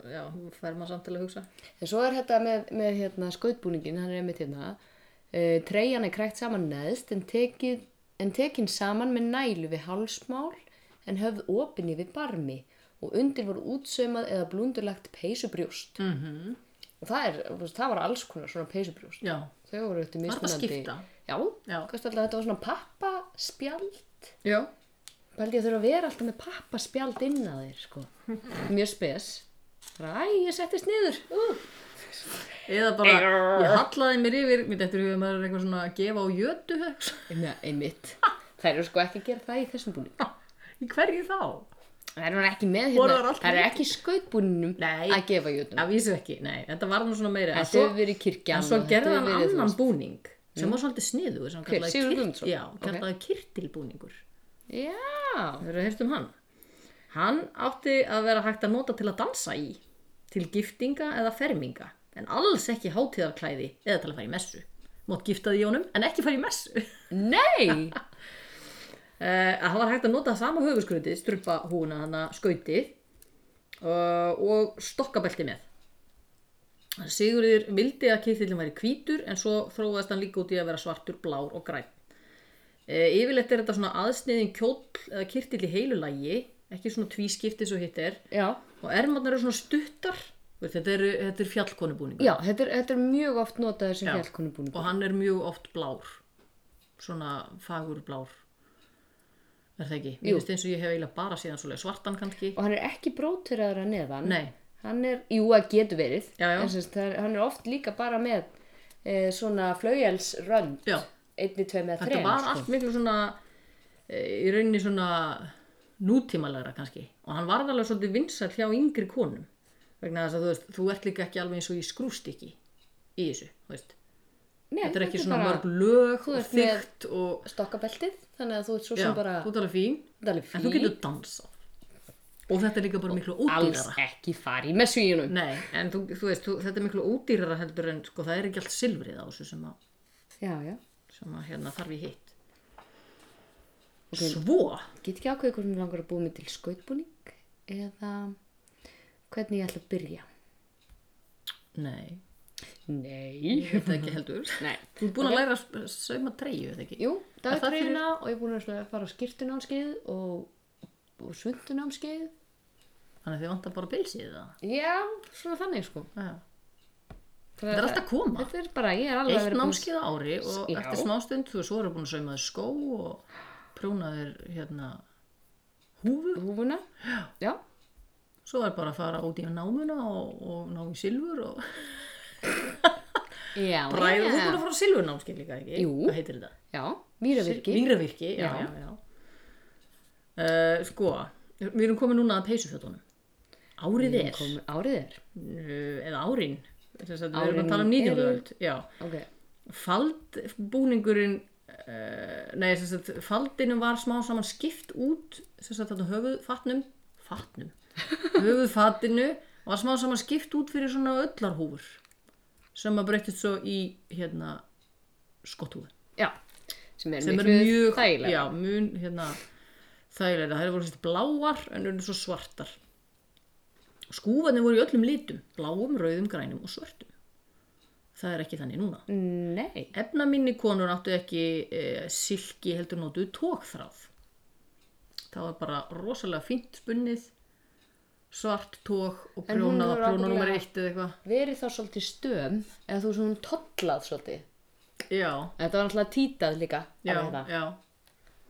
já, fær maður samt til að hugsa.
En svo er þetta með, með hérna, skautbúningin, hann er einmitt hérna, uh, treyjan er krækt saman neðst en, tekið, en tekin saman með nælu við hálsmál en höfð opinni við barmi og undir voru útsaumað eða blundurlagt peysubrjóst. Mm
Mhm.
-hmm. Og það, er, þú veist, það var alls konar svona peysubrjóst.
Já,
Þau voru eftir
Var
mismunandi.
það skipta?
Já,
Já.
Kosti alltaf þetta var svona pappaspjald.
já.
Pældi ég að þurfa að vera alltaf með pappaspjald inn að þér, sko. Mjög spes. Bara, æ, ég settist niður. Uh.
Eða bara, ég hallaði mér yfir, mitt eftir hugum að eitthvað svona að gefa á jötu, hugsa.
Nei, einmitt. Þær eru sko ekki að gera það í þessum búning.
Í hverju þá?
Það er hún ekki með
Borðar
hérna,
allt
það er ekki skautbúninum
Nei.
að gefa jötun.
að vísu ekki, nei, þetta var nú svona meira en
Þetta hefur verið kirkjan
en svo
og þetta
gerði
hefur
hann
verið, þú
annan
veist.
búning sem var svolítið sniðu sem hann
Hver?
kallaði
Sigurður
kirt-
Guðmundsson?
já,
Ok.
kallaði kirtilbúningur
Já,
Hefur það heyrt um hann? Hann átti að vera hægt að nota til að dansa í, til giftinga eða ferminga, en alls ekki hátíðarklæði eða til að fara í messu. Mótt giftaði í honum, en ekki fara í messu. [LAUGHS]
nei,
Uh, hann var hægt að nota sama höfuskröndið, strupa húna hana skautið uh, og stokkabelti með. Sigurður vildi að keithillin væri hvítur en svo þróaðist hann líka út í að vera svartur, blár og græn. Uh, yfirleitt er þetta svona aðsniðin kjóll eða kirtill í heilu lagi, ekki svona tvískipti svo hitt er.
já,
Og ermarnar eru svona stuttar, Þú veist, þetta eru, þetta eru fjallkonubúningar
já, þetta er, þetta er mjög oft notað sem
Já.
fjallkonubúningur.
og hann er mjög oft blár svona fagur blár er það ekki? Mér
Jú.
finnst eins og ég hef eiginlega bara síðan svoleið svartan kannski
Og hann er ekki bróteraður að neðan.
Nei.
Hann er, jú, að getur verið.
Já, já.
En sem sagt, það er, hann er oft líka bara með e, svona flaujelsrönd.
Já.
Einni, tvei með sko.
þetta
þrein.
var allt miklu svona e, í rauninni svona nútímalegra kannski og hann varð alveg svolítið vinsall hjá yngri konum vegna þess að þú veist, þú ert líka ekki alveg eins og í skrústykki í þessu, þú veist
Nei,
þetta er ekki svona
bara
mörg lög
þú
og
ert með-
þygt og
Stokkabeltið, þannig að þú ert svo
já,
sem bara...
þú talar fín
Þetta er alveg
en þú
fínt.
getur dansað og þetta er líka bara miklu
alls
ódýrara
ekki fari með svíunum
Nei, en þú, þú veist, þú, þetta er miklu ódýrara heldur en sko, það er ekki allt silfrið á þessu sem að,
já, já,
sem að hérna þarf í hitt. Svo,
get ekki ákveðið hvernig mig langar að búa mig til skautbúning eða hvernig ég ætla að byrja
nei,
nei,
þetta er ekki heldur.
nei
Þú er búin að læra að s- sauma treyju, eða ekki?
jú,
það fyrir-
dagtreyna og ég er búin að svona fara á skýrtunámskeið og, og sundunámskeið
Þannig að þið vantar bara pilsið það.
já, svona þannig sko
Já.
það
Þetta er allt að koma.
þetta er bara, ég er alveg
Eitt
vera búin-
námskið á ári og
Já.
eftir smástund, þú svo eru búin að sauma þér skó og prjóna þér hérna húfu.
húfuna já,
Svo er bara að fara út í námuna og, og ná í silfur og
já,
bræða. Þú er búin
já.
að fara á silfurnámskið líka, ekki?
Jú.
Hvað heitir þetta?
já mýravirki
Víravirki, já,
Já.
já, já. Uh, sko, við erum komin núna að peysufjötunum. Árið er,
Kom- árið er
uh, eða árin, þess að við erum
Árin
að tala um 19.
eru-
öld, já.
ok,
Faldbúningurinn, uh, nei, þess að faldinum var smá saman skipt út, þess að þetta höfuðfatnum,
[LAUGHS]
fatnum, höfuðfatinu var smá saman skipt út fyrir svona öllarhúfur sem að breytist svo í, hérna, skotthúfu
já sem er,
sem er
miklu
mjög
þægilegra.
já, mun hérna þægilega, það eru voru sérst bláar en eru svo svartar skúfarnir voru í öllum litum bláum, rauðum, grænum og svörtum það er ekki þannig núna
Nei,
efna minni konur áttu ekki e, silki heldur nótu tókþráð það var bara rosalega fínt spunnið svart tók og
En hún
prjónað
hefur
prjóna nummer
ábyggilega-
eitt eða eitthvað
verið þá svolítið stöm eða þú svona tollað svolítið
já,
Þetta var alltaf títað líka
já,
Alltaf
já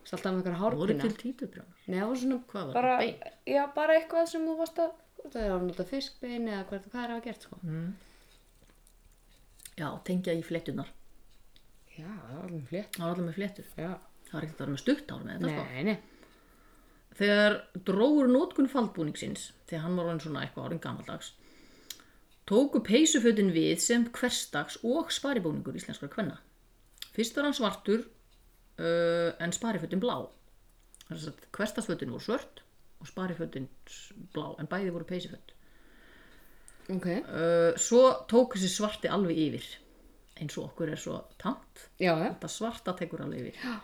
með einhver
voru
hárpina
til títuprjónar
Nei, það var svona
Hvað var
bara,
það, bein?
Já, bara eitthvað sem þú varst að Það var að nota fiskbein eða hvað, hvað er að gert
Mm.
sko
já, tengja í flettunar
Já, það var alveg flétt
það var allir með flettur
Já,
það var ekkert að vera með stutt ár með þetta sko.
nei, nei
þegar dróður nótkun faldbúningsins þegar hann var orðin svona eitthvað orðin gamaldags tóku peysufötin við sem hverstags og sparibúningur íslenskra kvenna fyrst var hann svartur uh, en sparifötin blá þess að hverstagsfötin voru svört og sparifötin s- blá en bæði voru peysuföt
Ok,
uh, svo tóku sér svarti alveg yfir eins og okkur er svo tamt
já, já
þetta svarta tekur alveg yfir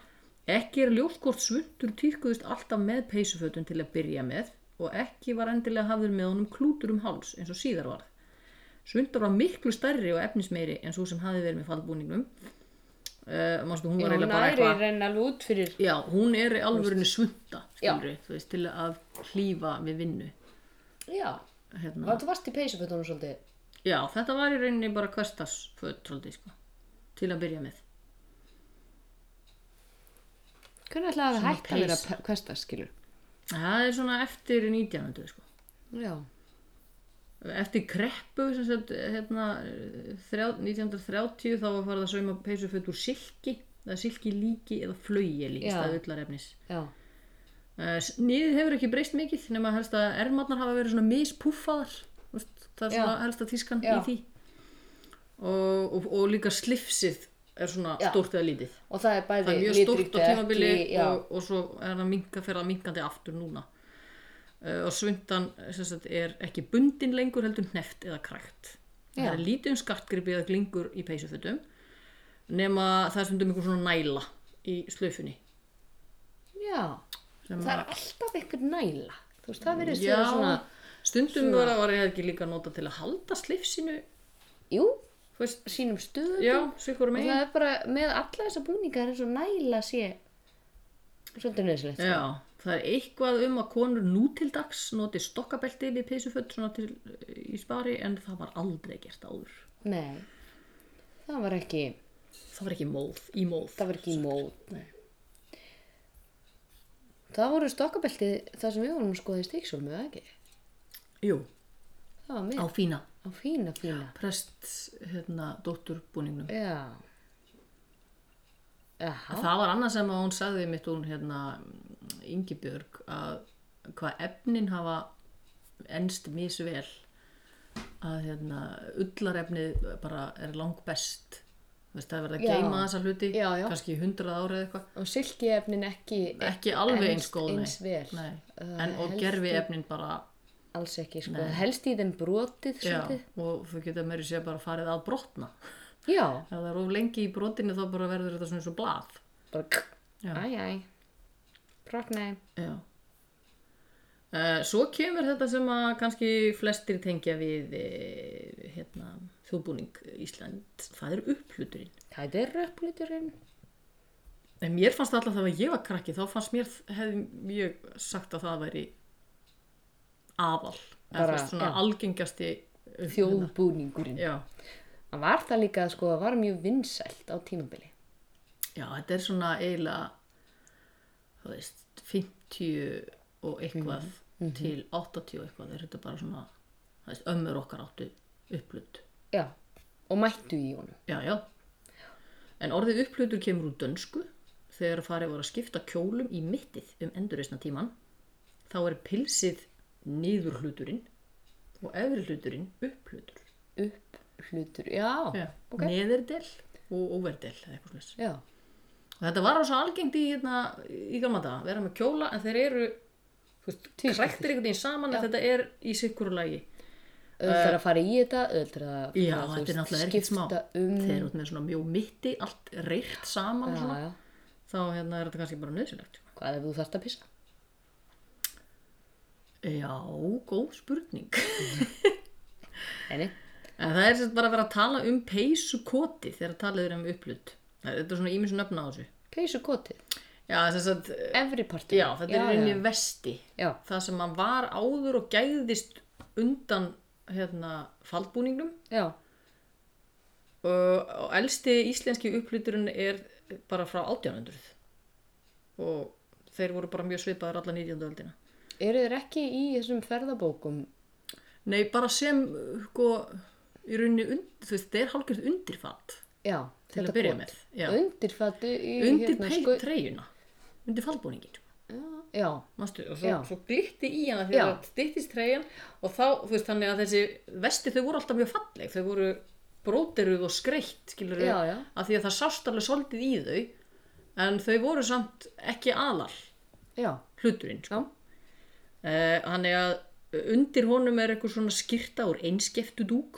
ekki er ljóst hvort svuntur týrkuðist alltaf með peysufötun til að byrja með og ekki var endilega hafður með honum klútur um háls eins og síðar varð svuntur var miklu stærri og efnismeiri en svo sem hafði verið með faldbúningnum uh, mástu, hún var
Já,
eiginlega
næri
bara eitthvað
renn alveg út fyrir
já, hún er í alvörinu svunta skilri, veist, til að hlýfa við vinnu
Já,
hérna.
var þú varst í peysufötunum svolítið
já, þetta var í rauninni bara hverstasföt svolítið, sko, til að byrja með
Hvernig ætlaði að
Svona
hætta að vera
peysa.
pe- hversdags, skilur?
það er svona eftir 19. sko
Já,
eftir kreppu sem sagt, hérna, þrjá, 1930 þá var farið að sauma peysuföt úr silki eða silki líki eða flögi
Já.
líkist að ullarefnis
já,
Eh, Sniðið hefur ekki breyst mikið nema helst að ermarnar hafa verið svona mispúffaðar þú veist, það er svona
Já.
helst að tískan
Já.
í því og, og, og líka slipsið er svona
Já.
stórt eða lítið
og það er bæði
það er mjög
litríkt
stórt á
og
tímabili
ekki- já,
og, og svo er það minka, fer það minkandi aftur núna uh, og svundan sem sagt, er ekki bundin lengur heldur hneft eða krækt það
Já.
er lítið um skartgripi eða glingur í peysufötum nema það er stundum einhver svona næla í slöfunni
já.
sem
það er
að-
alltaf einhver næla þú veist, það verðist
Já,
vera svona
stundum
svona-
var það var ég ekki líka nota til að halda slifsinu
jú,
þú veist,
sínum stuðum
já, sikur
og
megin
það er bara með alla þessa búningar eins og næla sé svolítið nöðsilegt sko.
Já, það er eitthvað um að konur nú til dags noti stokkabelti við peysuföld svona til í spari en það var aldrei gert áður.
nei það var ekki
Það var ekki móð, í móð.
það var ekki í mót nei. það voru stokkabelti það sem við vorum að skoða í stíksólum eða ekki
Jú,
það var
á
með,
fína.
á fína fína
Prest, hérna, dótturbúningnum.
já Aha.
Það var annað sem að hún sagði mitt hún, hérna, Ingibjörg, að hvað efnin hafa ennst misvel að, hérna, ullarefnið bara er langbest. Þú veist, það er verið að
Já.
geyma þessa hluti,
Já, já.
kannski í hundrað ára eða eitthvað.
og silkiefnin ekki
ekki alveg eins
ennst
góð nei.
eins vel
nei.
Uh,
en og
helst
gerfi
í-
efnin bara
alls ekki sko. helst í þeim brotið
já,
svolítið.
og þau geta meiri sér bara farið að brotna
já,
ef það er of lengi í brotinu þá bara verður þetta svona eins og blað
bara
Já.
æj, æj, brotnaði
já uh, svo kemur þetta sem að kannski flestir tengja við eh, hérna, þjóðbúning Ísland það er uppluturinn
hvað er röppliturinn?
en mér fannst alltaf þegar ég var krakki þá fannst mér hefði ég sagt að það væri aðal eða
Bara,
þú veist, svona
já.
algengasti Hérna.
þjóðbúningurinn
já
Það var það líka sko, það var mjög vinsælt á tímabili
Já, þetta er svona eiginlega þú veist, 50 og eitthvað til 80 og eitthvað er þetta bara svona þú veist, ömmur okkar áttu upplut
já, og mættu í honum
Já, já En orðið upplutur kemur úr dönsku þegar farið voru að skipta kjólum í mittið um endurreisna tíman þá er pilsið niður hluturinn og efri hluturinn upplutur
upp hlutur, já,
Já,
ok.
neðerdel og overdel eða eitthvað slags
já.
og þetta var á svo algengt í, hérna, í gamla daga, vera með kjóla en þeir eru
Tvískiptir.
kræktir einhvern veginn saman en þetta er í sikkur lagi
öðvitað að fara í þetta, öðvitað að
já,
þú
þetta
veist,
er náttúrulega ekkert smá
skipta um
þeir eru út með svona mjög mitti, allt reyrt saman og
já,
svona,
já.
þá hérna, er þetta kannski bara nöðsynlegt
hvað ef þú þarft að pissa?
já, góð spurning [LAUGHS]
Enni?
en það er sem sagt bara að vera að tala um peysukoti þegar talið er um upplut þetta er svona ímissu nöfna á þessu
Peysu kotið,
já, sem sagt, eh,
efri partur
já þetta er inn í vesti
já,
það sem hann var áður og gæðist undan hérna, faldbúningnum
já,
og, og elsti íslenski uppluturinn er bara frá 1800 og þeir voru bara mjög svipaðir alla 19. öldina
eru þeir ekki í þessum ferðabókum
Nei, bara sem sko, í rauninni, und, þú veist, þeir hálgjörð undirfatt
já,
til
þetta
að byrja
kot.
með já.
undirfættu í
undir
hérna,
pey,
skau-
treyjuna undir faldbúningin
já,
Manstu, og
Já.
svo, svo glitti í hana
Já.
þegar það glittist treyjan og þá, þú veist, þannig að þessi vesti þau voru alltaf mjög falleg, þau voru bróteruð og skreitt, skilur við
Já, já.
að því að það sást alveg soldið í þau en þau voru samt ekki aðal
já,
hluturinn,
já
sko Eh, þannig að undir honum er eitthvað svona skyrta úr einskeftu dúk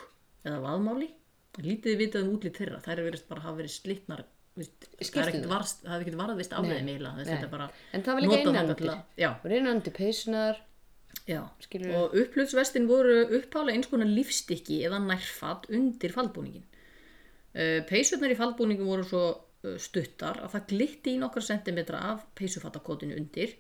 eða vaðmáli, lítið vitað um útlið þeirra, þær er verið bara að hafa verið slitnar það er
Skyrturnar?
ekkert varst- það er ekkert varðist af
Nei,
þeim eiginlega, þess að
nei.
þetta bara
En það var líka
notað
innan
þangað til
undir.
að- já,
og reyna undir peysunar
Já,
Skilurðu?
og upplutsvestin voru upphála eins konar lífstykki eða nærfat undir faldbúningin. Uh, Peysutnar í faldbúningin voru svo eh, stuttar að það glitti í nokkra sentimetra af peysufattakotinu undir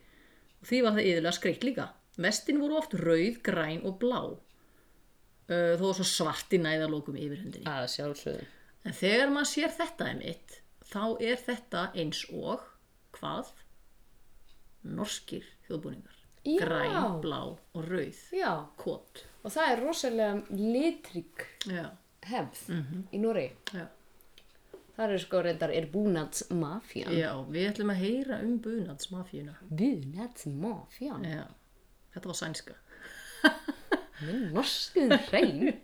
og því var það yfirlega skreitt líka. Vestin voru oft rauð, græn og blá, uh, þó var svo svarti næðalókum yfir hendinni.
að sjálfsögðu
En þegar maður sér þetta einmitt, þá er þetta eins og hvað? Norskir þjóðbúningar.
Já.
Græn, blá og rauð
já,
kót
og það er rosalega litrík
já,
Mhm. hefð í Noregi
já.
þar er sko reyndar er búnadsmafjan
Já, við ætlum að heyra um bunadsmafíuna.
búnadsmafjan,
Já, þetta var sænska.
minn norskuð
[LAUGHS]
hrein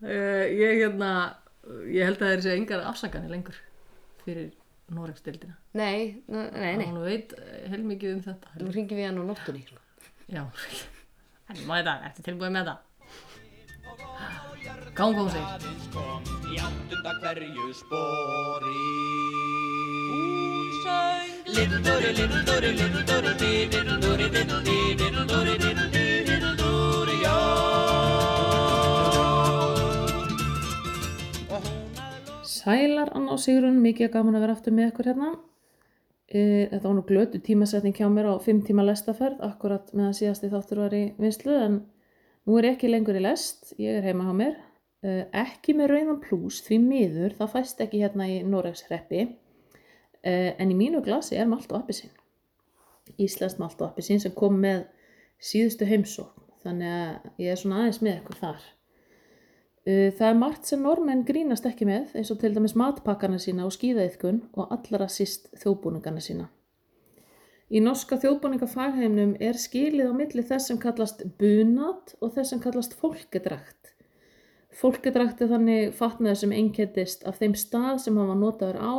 Uh, ég, hérna, ég held að það er sér engar afsakanir lengur fyrir Noregsdeildina.
nei, n- nei, nei
Hún veit eh, heilmikið um þetta.
nú ringi við hann á nóttunni sko.
Já. Þannig maður þetta, ertu tilbúið með það? Gangum sig.
aðeins kom í áttunda hverju spori. Hún söng Lindori, lindori, lindori, di, lindori, dindi, lindori, dindi, lindori, já. Og hún að
Sælar Anna og Sigrun, mikið gaman að vera aftur með ykkur hérna. E, þetta var nú glötu tímasetning hjá mér á 5 tíma lestaferð, akkurat meðan síðasti þáttur var í vinslu, en nú er ég ekki lengur í lest, ég er heima hjá mér. E, ekki með rauðan plús, því miður, það fæst ekki hérna í Noregs hreppi, e, en í mínu glasi er malt og appisinn. Íslands malt og appisinn sem kom með síðustu heimsókn, þannig að ég er svona aðeins með ykkur þar. Uh, Það er margt sem normenn grínast ekki með eins og til dæmis matpakkana sína og skíðaiðkun og allra síst þjóðbúningana sína. Í norska þjóðbúningafagheiminum er skilið á milli þess sem kallast bunat og þess sem kallast fólkedrakt. Fólkedrakt er þannig fatnaður sem einkettist af þeim stað sem hann var notaður á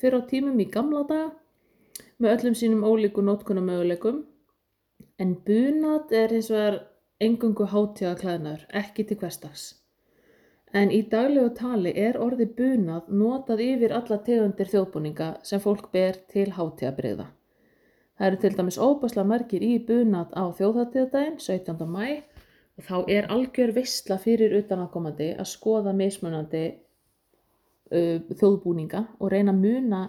fyrir á tímum í gamla daga með öllum sínum ólíku notkunamöguleikum en bunat er hins vegar engungu hátíðaklæðnar, ekki til hverstags. En í daglegu tali er orði bunað notað yfir alla tegundir þjóðbúninga sem fólk ber til hátíðabriða. Það eru til dæmis óbæsla margir í bunað á þjóðhátíðadaginn 17. mæ og þá er algjör veistla fyrir utanakomandi að skoða mismunandi uh, þjóðbúninga og reyna að muna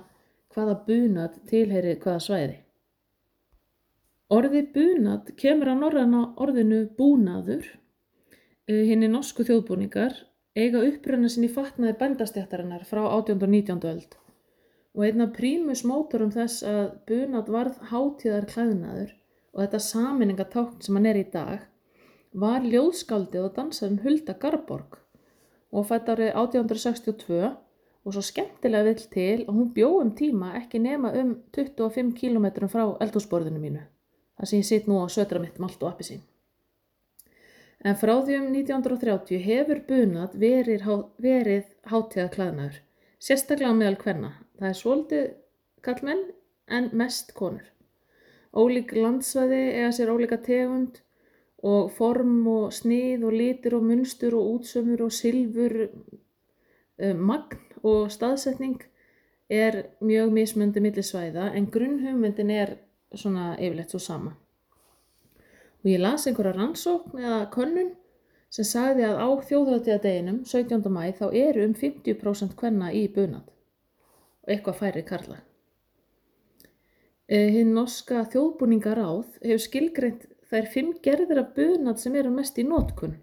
hvaða bunað tilheyri hvaða svæði. Orði bunað kemur að norræna orðinu búnaður henni Eh, norsku þjóðbúningar eiga uppröna sinni fatnaði bændastjættarinnar frá 18. og 19. öld og einna prímus mótorum þess að bunat varð hátíðar klæðnaður og þetta saminningatákn sem hann er í dag var ljóðskaldið og dansaðum Hulda Garborg og fætt árið 1862 og svo skemmtilega vill til að hún bjó um tíma ekki nema um 25 km frá eldhúsborðinu mínu það sem ég sitt nú á södra mitt malt og appi sín En frá því um 1930 hefur bunat verið, há- verið hátíðaklæðnaður, sérstaklega á meðal kvenna. Það er svolítið kallmenn en mest konur. Ólík landsvæði eða sér ólíka tegund og form og snið og litir og munstur og útsömmur og silfur, eh, magn og staðsetning er mjög mismöndi millisvæða en grunnhugmyndin er svona yfirleitt svo sama. Og ég las einhverja rannsókn eða könnun sem sagði að á þjóðhættiðadeginum 17. mæ þá eru um 50% kvenna í bunad og eitthvað færi karla. Eh, Hinn norska þjóðbúningaráð hefur skilgreint þær fimm gerðir af bunad sem eru mest í notkun.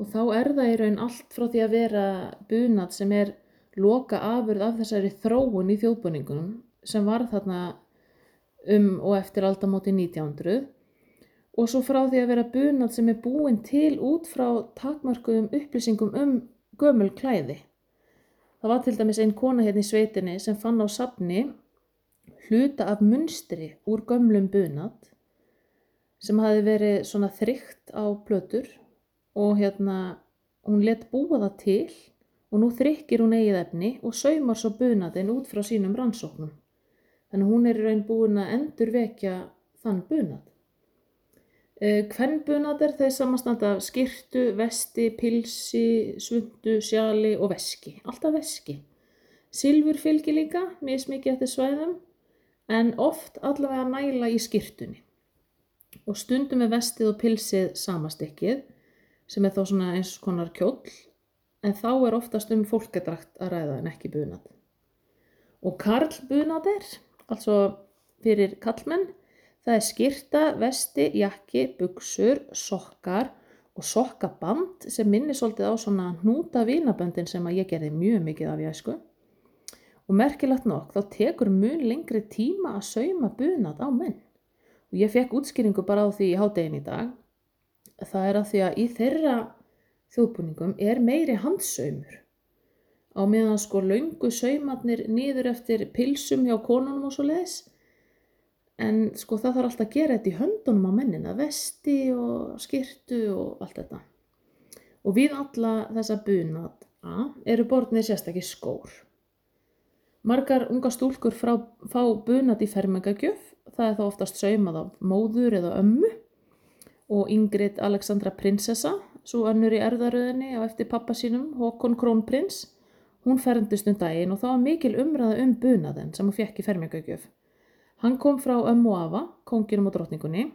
Og þá er það í raun allt frá því að vera bunad sem er loka afurð af þessari þróun í þjóðbúningunum sem var þarna um og eftir aldamóti 1900 og svo frá því að vera bunað sem er búin til út frá takmarkuðum upplýsingum um gömul klæði. Það var til dæmis einn kona hérna í sveitinni sem fann á safni hluta af munstri úr gömlum bunað sem hafi verið svona þrygt á plötur og hérna hún let búa það til og nú þrykkir hún eigið efni og saumar svo bunaðin út frá sínum rannsóknum. Þannig að hún er í raun búin að endurvekja þann bunað. Hvernbunat er Eh, þeir samastand af skirtu, vesti, pilsi, svundu, sjali og veski. Alltaf veski. Silfur fylgir líka, mismikið eftir svæðum, en oft allavega næla í skirtunni. Og stundum er vestið og pilsið samastykkið, sem er þá svona eins konar kjóll, en þá er oftast um fólkadrakt að ræða en ekki bunat. Og karlbunat er, altså fyrir kallmenn, Það er skyrta, vesti, jakki, buksur, sokkar og sokkaband sem minnir svolítið á svona hnúta vínaböndin sem að ég gerði mjög mikið af í æsku. Og merkilegt nokk, þá tekur mun lengri tíma að sauma bunat á menn. Og ég fekk útskýringu bara á því í hádegin í dag. Það er að því að í þeirra þjóðbúningum er meiri handsaumur. á meðan sko löngu saumarnir niður eftir pilsum hjá konunum og svo leiðis en sko það þarf alltaf að gera þetta í höndunum á mennina vesti og skirtu og allt þetta og við alla þessa bunat a, eru borðnir sérstakir skór Margar unga stúlkur frá, fá bunat í fermingagjöf, það er þá oftast saumað af móður eða ömmu og Ingrid Alexandra prinsessa, svo önnur í erðaröðinni á eftir pappa sínum, Håkon Krónprins, hún ferndist um daginn og það var mikil umræða um bunaðinn sem hún fekk í fermingagjöf. Hann kom frá ömmu og afa, konginum og drottningunni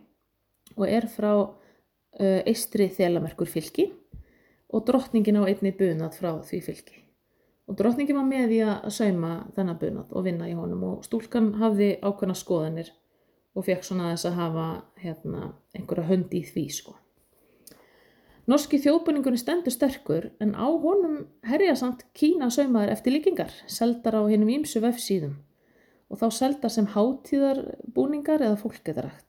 og er frá uh, eistri þelamerkur fylki og drottningin á einni bunat frá því fylki. Og drottningin var með í að sauma þennan bunat og vinna í honum og stúlkan hafði ákveðna skoðanir og fekk svona þess að hafa hérna, einhverja hönd í því sko. Norski þjóðbúningunni stendur sterkur en á honum herja samt kína saumaður eftir líkingar, seldar á hinnum ímsu vefsíðum og þá seldar sem hátíðarbúningar eða fólketarækt.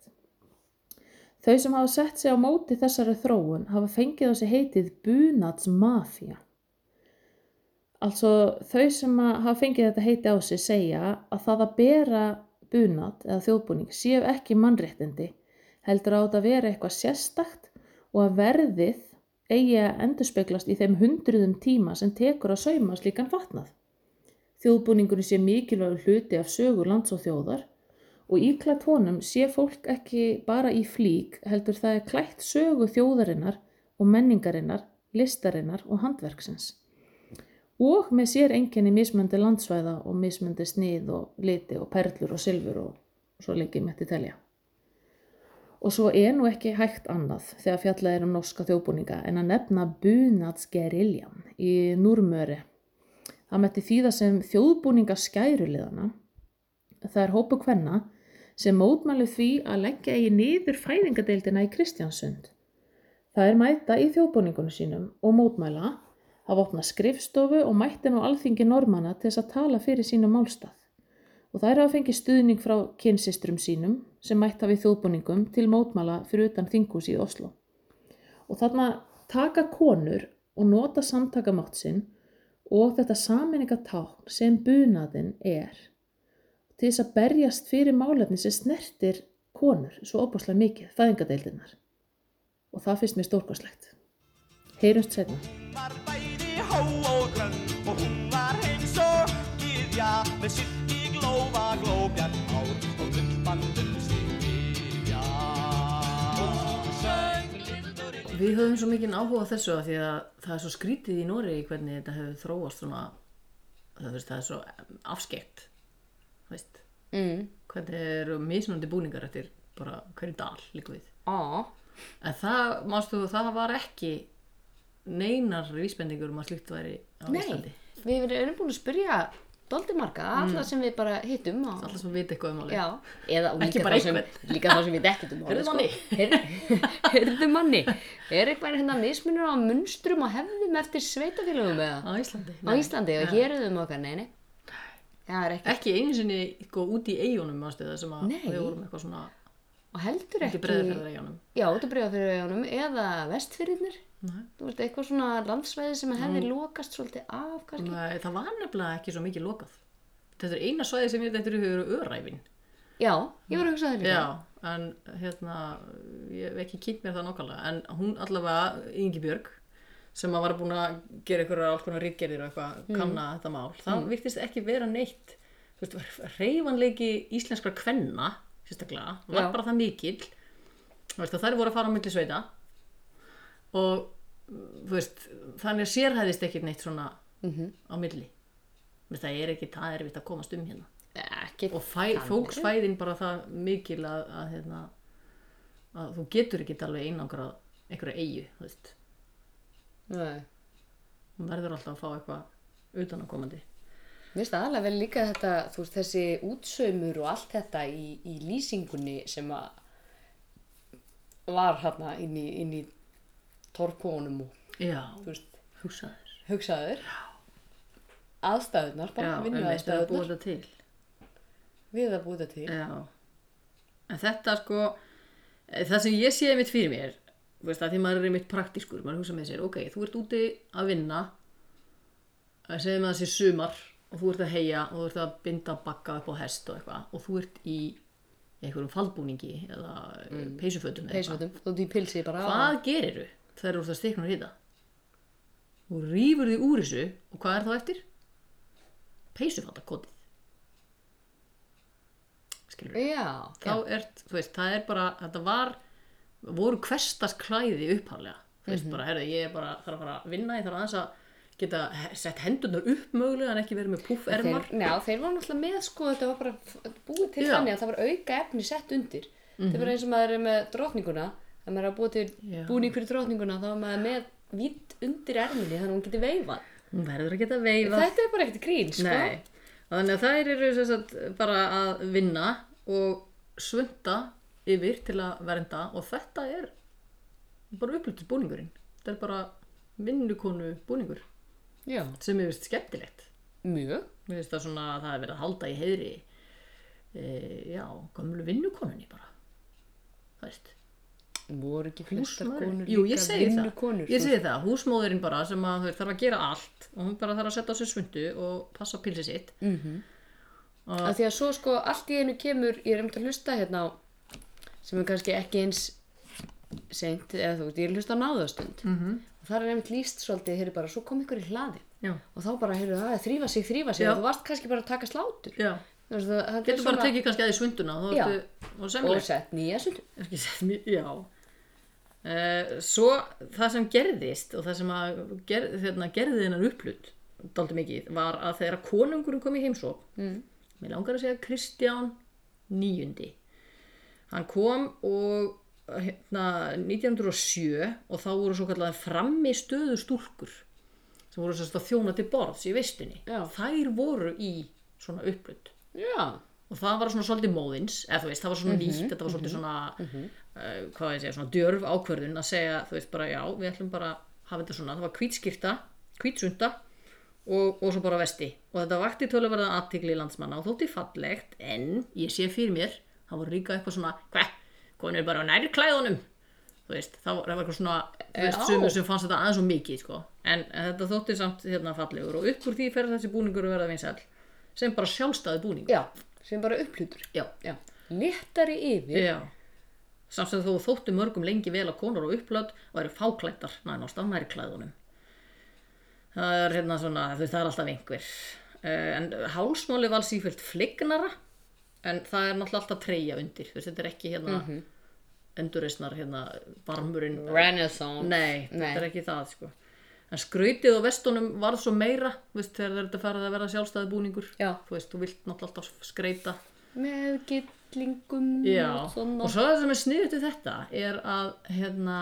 Þau sem hafa sett sig á móti þessari þróun hafa fengið á sig heitið bunatsmafía. Altså þau sem að hafa fengið þetta heiti á sig segja að það að bera bunat eða þjóðbúning séu ekki mannréttindi heldur á þetta að vera eitthvað sérstakt og að verðið eigi að endurspeglast í þeim hundruðum tíma sem tekur að sauma slíkan fatnað. Þjóðbúningunni sé mikilvægur hluti af sögur lands og þjóðar og íklætt honum sé fólk ekki bara í flík heldur það er klætt sögu þjóðarinnar og menningarinnar, listarinnar og handverksins og með sér enginni mismöndi landsvæða og mismöndi snið og liti og perlur og silfur og svo lengi með til telja. Og svo er nú ekki hægt annað þegar fjallað er um norska þjóðbúninga en að nefna bunatsgeriljan í Núrmöri. Það metti þýða sem þjóðbúninga skæruliðana, það er hópu hvenna, sem mótmælu því að leggja í niður fæðingadeildina í Kristjánsund. Það er mæta í þjóðbúningunum sínum og mótmæla hafa opnað skrifstofu og mættin og alþingi normanna til þess að tala fyrir sínum málstað. Og þær hafa fengið stuðning frá kynsistrum sínum sem mætta við þjóðbúningum til mótmala fyrir utan þingus í Oslo. Og þarna taka konur og nota samtakamátt sinn og þetta saminningatákn sem bunaðinn er til þess að berjast fyrir málefni sem snertir konur svo opaslega mikið, þæðingadeildinar. Og það finnst mér stórkvæslegt. Heyrjumst setna.
var bæði há og grönn og hún var eins og gyðja með sitt í glófa glóbjart hár og lumbandum sín gyðja. Hún söng lindurinn
Við höfum svo mikinn áhuga á þessu að því að það er svo skrítið í Noregi hvernig þetta hefur þróast svona, það, veist, það er svo em, afskekkt, þú veist,
Mm.
hvernig eru mismunandi búningar eftir bara hverju dal líka við.
Á.
En það, mástu, það var ekki neinar vísbendingur um að slíkt væri á Íslandi.
Nei, við erum búin að spyrja doldi marga, alla sem við bara hittum á,
Alltaf sem vita eitthvað um alveg.
já, eða og
Ekki
líka
bara
þá sem,
einhvern.
líka þá sem við dekkið um
Heyrðu manni.
heyrðu [LAUGHS] manni er eitthvað hérna mismunur á munstrum og hefðum eftir sveitafélagum eða
Á Íslandi.
á Íslandi og héruðum okkar, nei, nei það er ekki,
Ekki einu sinni sko, út í eigunum ástu það sem að
Nei.
við vorum eitthvað svona
og heldur
ekki
ekki
breðarferðar eigunum.
já, út að bregða fyrir auðanum eða vestfyrirnir
Nei.
þú veist, eitthvað svona landsvæði sem hefði lokast svolítið af, kannski
Nei, það var nefnilega ekki svo mikið lokað. Þetta er eina svæði sem ég þetta er hugur öræfin.
já, ég var að hugsa það líka
Já, en hérna, ég hef ekki kynnt mér það nokkalega, en hún allavega, Ingibjörg, sem að var búin að gera einhverja alls konar rítgerðir og eitthvað,
Mm.
kanna þetta mál, það virtist ekki vera neitt, þú veist, reyfanleiki íslenskra kvenna, sérstaklega, var
Já.
bara það mikill, þú veist, að þær voru að fara á milli sveita og, þú veist, þannig að sérhæðist ekki neitt svona
Mhm.
á milli, Þú veist, það er ekki, það er erfitt að komast um hérna
ekki,
og fæ, fólksfæðin bara það mikil að, að, hérna, að þú getur ekki alveg einangra einhverja eigu þú veist.
nei
hún verður alltaf að fá eitthvað utanakomandi
Mér finnst aðalega vel líka þetta, þú veist, þessi útsaumur og allt þetta í, í lýsingunni sem að var hérna inn í, inn í torkónum og,
já,
þú veist,
hugsaður
hugsaður. Aðstæðunar,
já,
bara
en
vinnu
þetta er búið
aðstæðunar,
þetta til
við að búið þetta til.
já. en þetta sko eh, það sem ég sé mitt fyrir mér þú veist, að því maður er mitt praktískur maður hugsa með sér, ok, þú ert úti að vinna
að segja með þessi sumar og þú ert að heia og þú ert að binda bakka upp á hest og eitthvað og þú ert í einhverjum fallbúningi eða mm. peysufötum eða eitthvað.
peysvöldum, þú ert í pilsi bara
hvað gerirðu þegar þú ert að stikna og hýta þú rýfur því úr þessu og hvað er þá eftir? peysufaldakotið skilur
Já,
þá ert, þú veist, það er bara þetta var, voru hverstast klæði upphaflega, þú
Mhm.
veist bara, herðu, ég er bara þarf að fara að vinna, ég þarf aðeins að geta he- sett hendurnar upp mögulega en ekki verið með
þeir,
puffermar
já, þeir voru náttúrulega með sko, þetta var bara f- búið til
Já. Mhm.
þannig að það var auka efni sett undir þetta var eins og maður er með drotninguna ef maður er að búið til
Já.
búning fyrir drotninguna þá er maður með vitt undir erminni þannig að hún geti veifað
hún verður að geta veifað
þetta er bara ekkert grín sko.
Nei, þannig að þær eru sem sagt, bara að vinna og svunda yfir til að vernda og þetta er bara upplýttur búningurinn þetta er bara vinnukonu búningur
já,
sem er vist skemmtilegt
mjög
Mér finnst það svona að það er verið að halda í heiðri e, já, gömlu vinnukonunni bara það veist,
voru ekki flestar
húsmóðurinn
konur
Jú, ég
líka
segi það,
vinnukonur,
ég
sko?
segi það húsmóðurinn bara sem að þú veist, þarf að gera allt og hún bara þarf að setja á sér svundu og passa pilsið sitt
Mm. Af því að svo sko allt í einu kemur, ég er um til að hlusta hérna á, sem er kannski ekki eins seint, eða þú veist, ég er að hlusta á náðastund.
Mhm.
-hmm. Og þar er einmitt líst svolítið, heyrðu bara, svo kom ykkur í hlaði.
Já.
Og þá bara, heyrðu það, er að þrífa sig, þrífa sig,
Já.
og þú varst kannski bara að taka slátur.
já,
Þú veist, það, það
getur bara tekið kannski að því svunduna og
Já.
þú ertu og
Og
semlega
sett nýja sundu.
ekki sett mjög, já e, svo það sem gerðist og það sem að ger, þeirna, gerði þennan upplut daldi mikið var að þegar konungurinn kom í heimsók mm. mér langar að segja Kristján níundi hann kom og hérna, 1907 og þá voru svo kallar frammi stöðu stúlkur sem voru sérst að þjóna til borðs í veistunni
Já.
þær voru í svona upplut
Já.
og það var svona svolítið móðins eða þú veist, það var svona
Mhm,
nýtt, þetta var svolítið svona uh, hvað á ég að segja, svona djörf ákvörðun að segja, þú veist, bara já, við ætlum bara að hafa þetta svona, það var hvítskýrta hvítsunta og, og svo bara vesti og þetta vakti töluverða aðtigli landsmanna og þótti fallegt en ég sé fyrir mér, það voru líka eitthvað svona hva, konur bara á nærklæðunum þú veist, það var, það var eitthvað svona þú veist,
Já.
sumur sem fannst þetta aðeins og mikið sko. en, en þetta þótti samt hérna fallegur og upp úr því fer þessi búningur að verða vinsæll sem bara sjálfstæði búningur
Já, sem bara upplutur.
Já.
Já. Léttari yfir.
Já. Samt sem þó þóttu mörgum lengi vel að konur og upplöð væri fáklættar nánast á nærklæðunum. Það er hérna svona, þú veist, það er alltaf einhver. Eh, En hálsmáli var sífjöld flignara, en það er náttúrulega alltaf treyja undir. Þú veist, þetta er ekki hérna mm
Mhm.
endurreisnar hérna varmurinn.
Renaissance.
Nei,
Nei.
þetta er ekki það, sko. En skrautið á vestunum varð svo meira, þú veist, þegar þetta farið að vera sjálfstæði búningur.
Já.
Þú veist, þú vilt náttúrulega alltaf skreita
Með gillingum
Já,
og svona.
og svo það sem er sniðut við þetta er að hérna,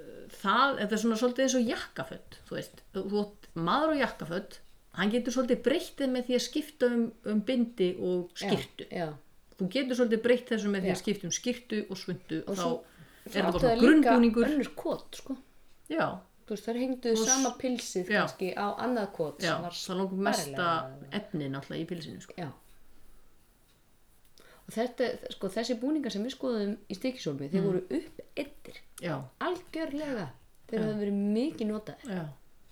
uh, það, þetta er svona svolítið eins og jakkaföld, þú veist, þú, þú, átt- maður og jakkaföld, hann getur svolítið breyttið með því að skipta um, um bindi og skirtu.
Já.
Þú getur svolítið breytt þessu með því að
Já.
skipta um skirtu og svundu og,
Og
þá
svo-
er þetta
Svo
bara
áttu
svona
þær líka
grunnbúningur.
Önnur kot, sko.
Já,
Þú veist, þær hengduðu
Og s-
sama pilsið
já.
kannski á annað kot
já,
sem var
það langar mesta
sparilega.
efnin alltaf í pilsinu, sko.
Já. Og þetta, sko, þessi búningar sem við skoðum í stikisólmi,
Mm.
þeir voru upp yttir,
Já,
algjörlega. Þeir hafa verið mikið notaðir.
já,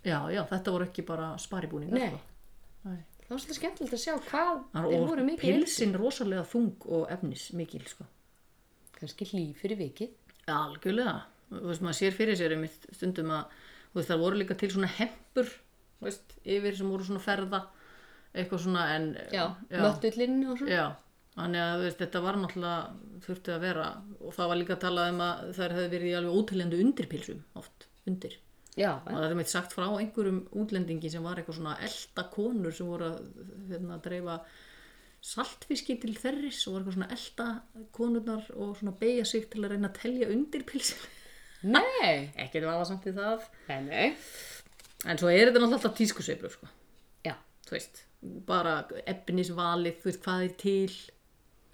já, já, þetta voru ekki bara sparibúningar,
Nei.
sko. Nei.
Það var svolítið skemmtilegt að sjá hvað
Hann-
þeir
og
voru mikið
pilsin rosalega þung og efnis mikil sko.
yttir. Kannski hlý fyrir vikið.
algjörlega, þú veist maður sér fyrir sér einmitt stundum að þú veist það voru líka til svona hempur þú veist, yfir sem voru svona ferða eitthvað svona en
Já, já. möttullinn og svona.
já. Þannig að þú veist, þetta var náttúrulega þurfti að vera og það var líka að tala um að þær hefði verið í alveg ótilhendu undirpilsum oft, undir
Já,
og það er meitt sagt frá einhverjum útlendingi sem var eitthvað svona elda konur sem voru að hérna, dreifa saltfiski til þerris og voru eitthvað svona elda konurnar og svona beigja sig til að reyna að telja undir pilsin
nei,
ekki það var samt í það
nei, nei.
en svo er þetta náttúrulega alltaf tískusveiflur sko.
Já,
þú veist, bara efnisvalið, þú veist, hvað er til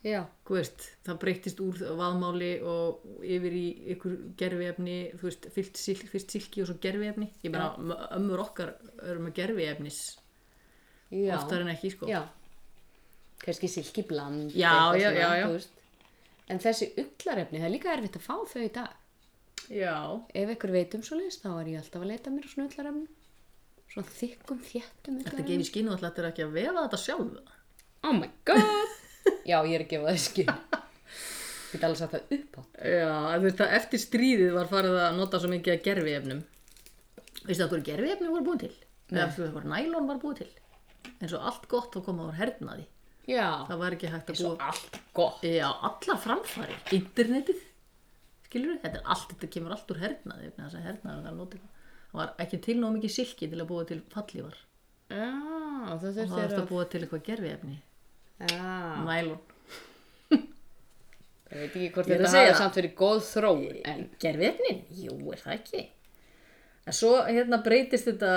já,
þú veist, það breytist úr vaðmáli og yfir í ykkur gerfiefni, þú veist, fyrst, sil, fyrst silki og svo gerfiefni ég meina, m- ömmur okkar eru með gerfiefnis
já.
oftar en ekki sko
Já, kannski silki bland
Já,
eitthvað
já,
svona,
já, já.
þú veist. En þessi ullarefni, það er líka erfitt að fá þau í dag
já,
Ef ykkur veit um svo leist, þá er ég alltaf að leita mér á svona ullarefni svona þykkum þjættum
Þetta gefi skínu alltaf þetta er ekki að vefa þetta sjálf.
oh my god [LAUGHS] já ég er að gefa það skil ég get alveg sagt það upp á
Já, þú veist það eftir stríðið var farið að nota svo mikið að gerfi efnum. Veistu það hverju gerfi efnum voru búin til? Eða þú veist hvað nælón var búin til? En svo allt gott þá koma úr hernaði.
já
Það var ekki hægt að
svo
búa.
allt gott
Já, allar framfari. Internetið. Skilur þetta er allt, þetta kemur allt úr hernaði. vegna þess að hernaður það notið það. Það var ekki til nóg mikið silki til að búa til fallívar.
já það
Og það
þurftir
þurfti að Ah.
að
búa til eitthvað gerfi efni.
já
Nælón.
ég veit ekki hvort
Ég er
þetta
að
segja
segja.
samt verið góð þróun en
gerfiðnin? Jú, er það ekki? En svo hérna breytist þetta,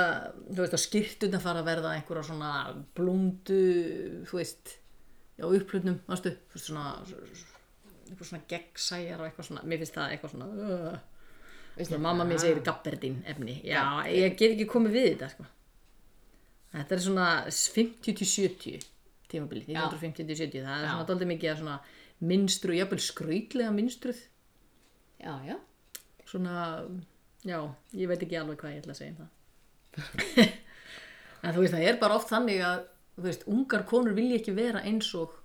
þú veist, að skýrtuna fara að verða einhverja svona blóndu, þú veist, já, upplutnum, varstu, þú veist, svona, eitthvað svona gegnsæjar og eitthvað svona, mér finnst það eitthvað svona, uh, svona mamma mín segir gabberdín efni, já, ég get ekki komið við þetta, sko. Þetta er svona 50-70 tímabilið, 1950-70, það er svona daldið mikið að svona minnstru, jafnvel skrýtlega minnstruð,
já já
svona, já, ég veit ekki alveg hvað ég ætla að segja um það. [LAUGHS] en þú veist, það er bara oft þannig að, þú veist, ungar konur vilja ekki vera eins og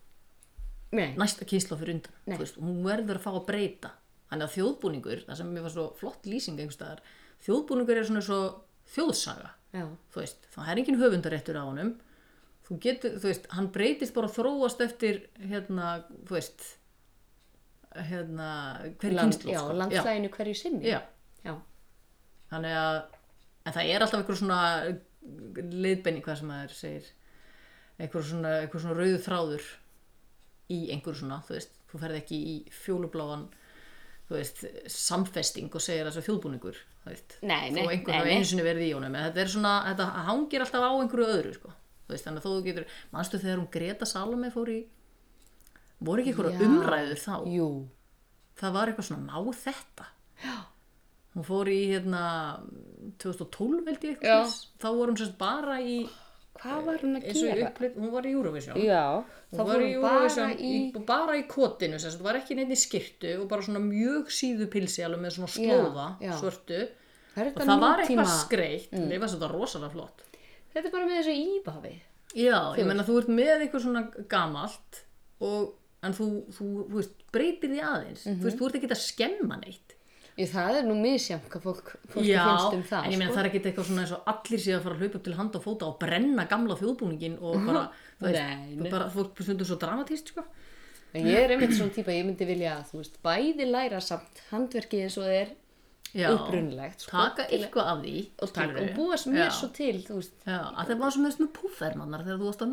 Nei.
næsta kynsla fyrir undan.
Nei.
Þú veist, hún verður að fá að breyta. Þannig að þjóðbúningur, það sem mér var svo flott lýsing einhverstaðar, þjóðbúningur er svona svo þjóðsaga.
já
Þú veist, þá er engin höfundaréttur á honum. Þú getur, þú veist, hann breytist bara að þróast eftir, hérna, þú veist, hérna, hverju
Land,
kynslu.
sko. já, landslæginu hverju sinni
Já,
já.
þannig að en það er alltaf einhver svona leiðbenning hvað sem maður segir einhver svona, einhver svona rauðu þráður í einhver svona þú veist, þú ferð ekki í fjólubláan þú veist, samfesting og segir þessu þjóðbúningur þú veist,
Nei, nei,
þó einhver
nei,
hafa
nei.
einu sinni verið í honum en þetta er svona, þetta hangir alltaf á einhverju öðru sko. þú veist, þannig að þó þú getur manstu þegar hún Greta Salome fór í voru ekki einhverja umræður þá
jú
það var eitthvað svona má þetta já. hún fór í hérna 2012 held
Já.
ég eitthvað svoleiðis. þá voru hún sérst bara í
hvað var hún að
eins og
gera
upplýtt, hún var í Eurovision
já þá fór
hún var í
hún bara
Eurovision
í
bara í kotinu sérst, það var ekki neitt í skirtu og bara svona mjög síðu pilsi alveg með svona slóða
Já, já.
svörtu
það er
og
þetta
það var
nútíma-
eitthvað skreitt mm. ég var þetta rosalega flott
þetta er bara með þessu íbafi
já, ég meina þú ert með eitthvað svona gamalt og en þú, þú, þú veist, breytir því aðeins
Mhm.
þú veist, þú ert ekki að skemma neitt
Ég, það er nú misjæmt hvað fólk, fólk
Já,
finnst um það
en ég meina
sko.
það er ekki eitthvað svona eins og allir sé að fara að hlaupa upp til handa og fóta og brenna gamla þjóðbúningin og
[LAUGHS]
bara, þú veist,
Nei, nei.
þú bara fólk stundur svo dramatist, sko.
En ég er einmitt svona típa, ég myndi vilja að þú veist, bæði læra samt handverkið eins og það er
Já,
upprunlegt sko,
taka eitthvað af því
og, taka,
skilurðu.
og búa sem mér
Já.
svo til, þú veist,
Já, að það var sem þess með púffermannar þegar þú varst á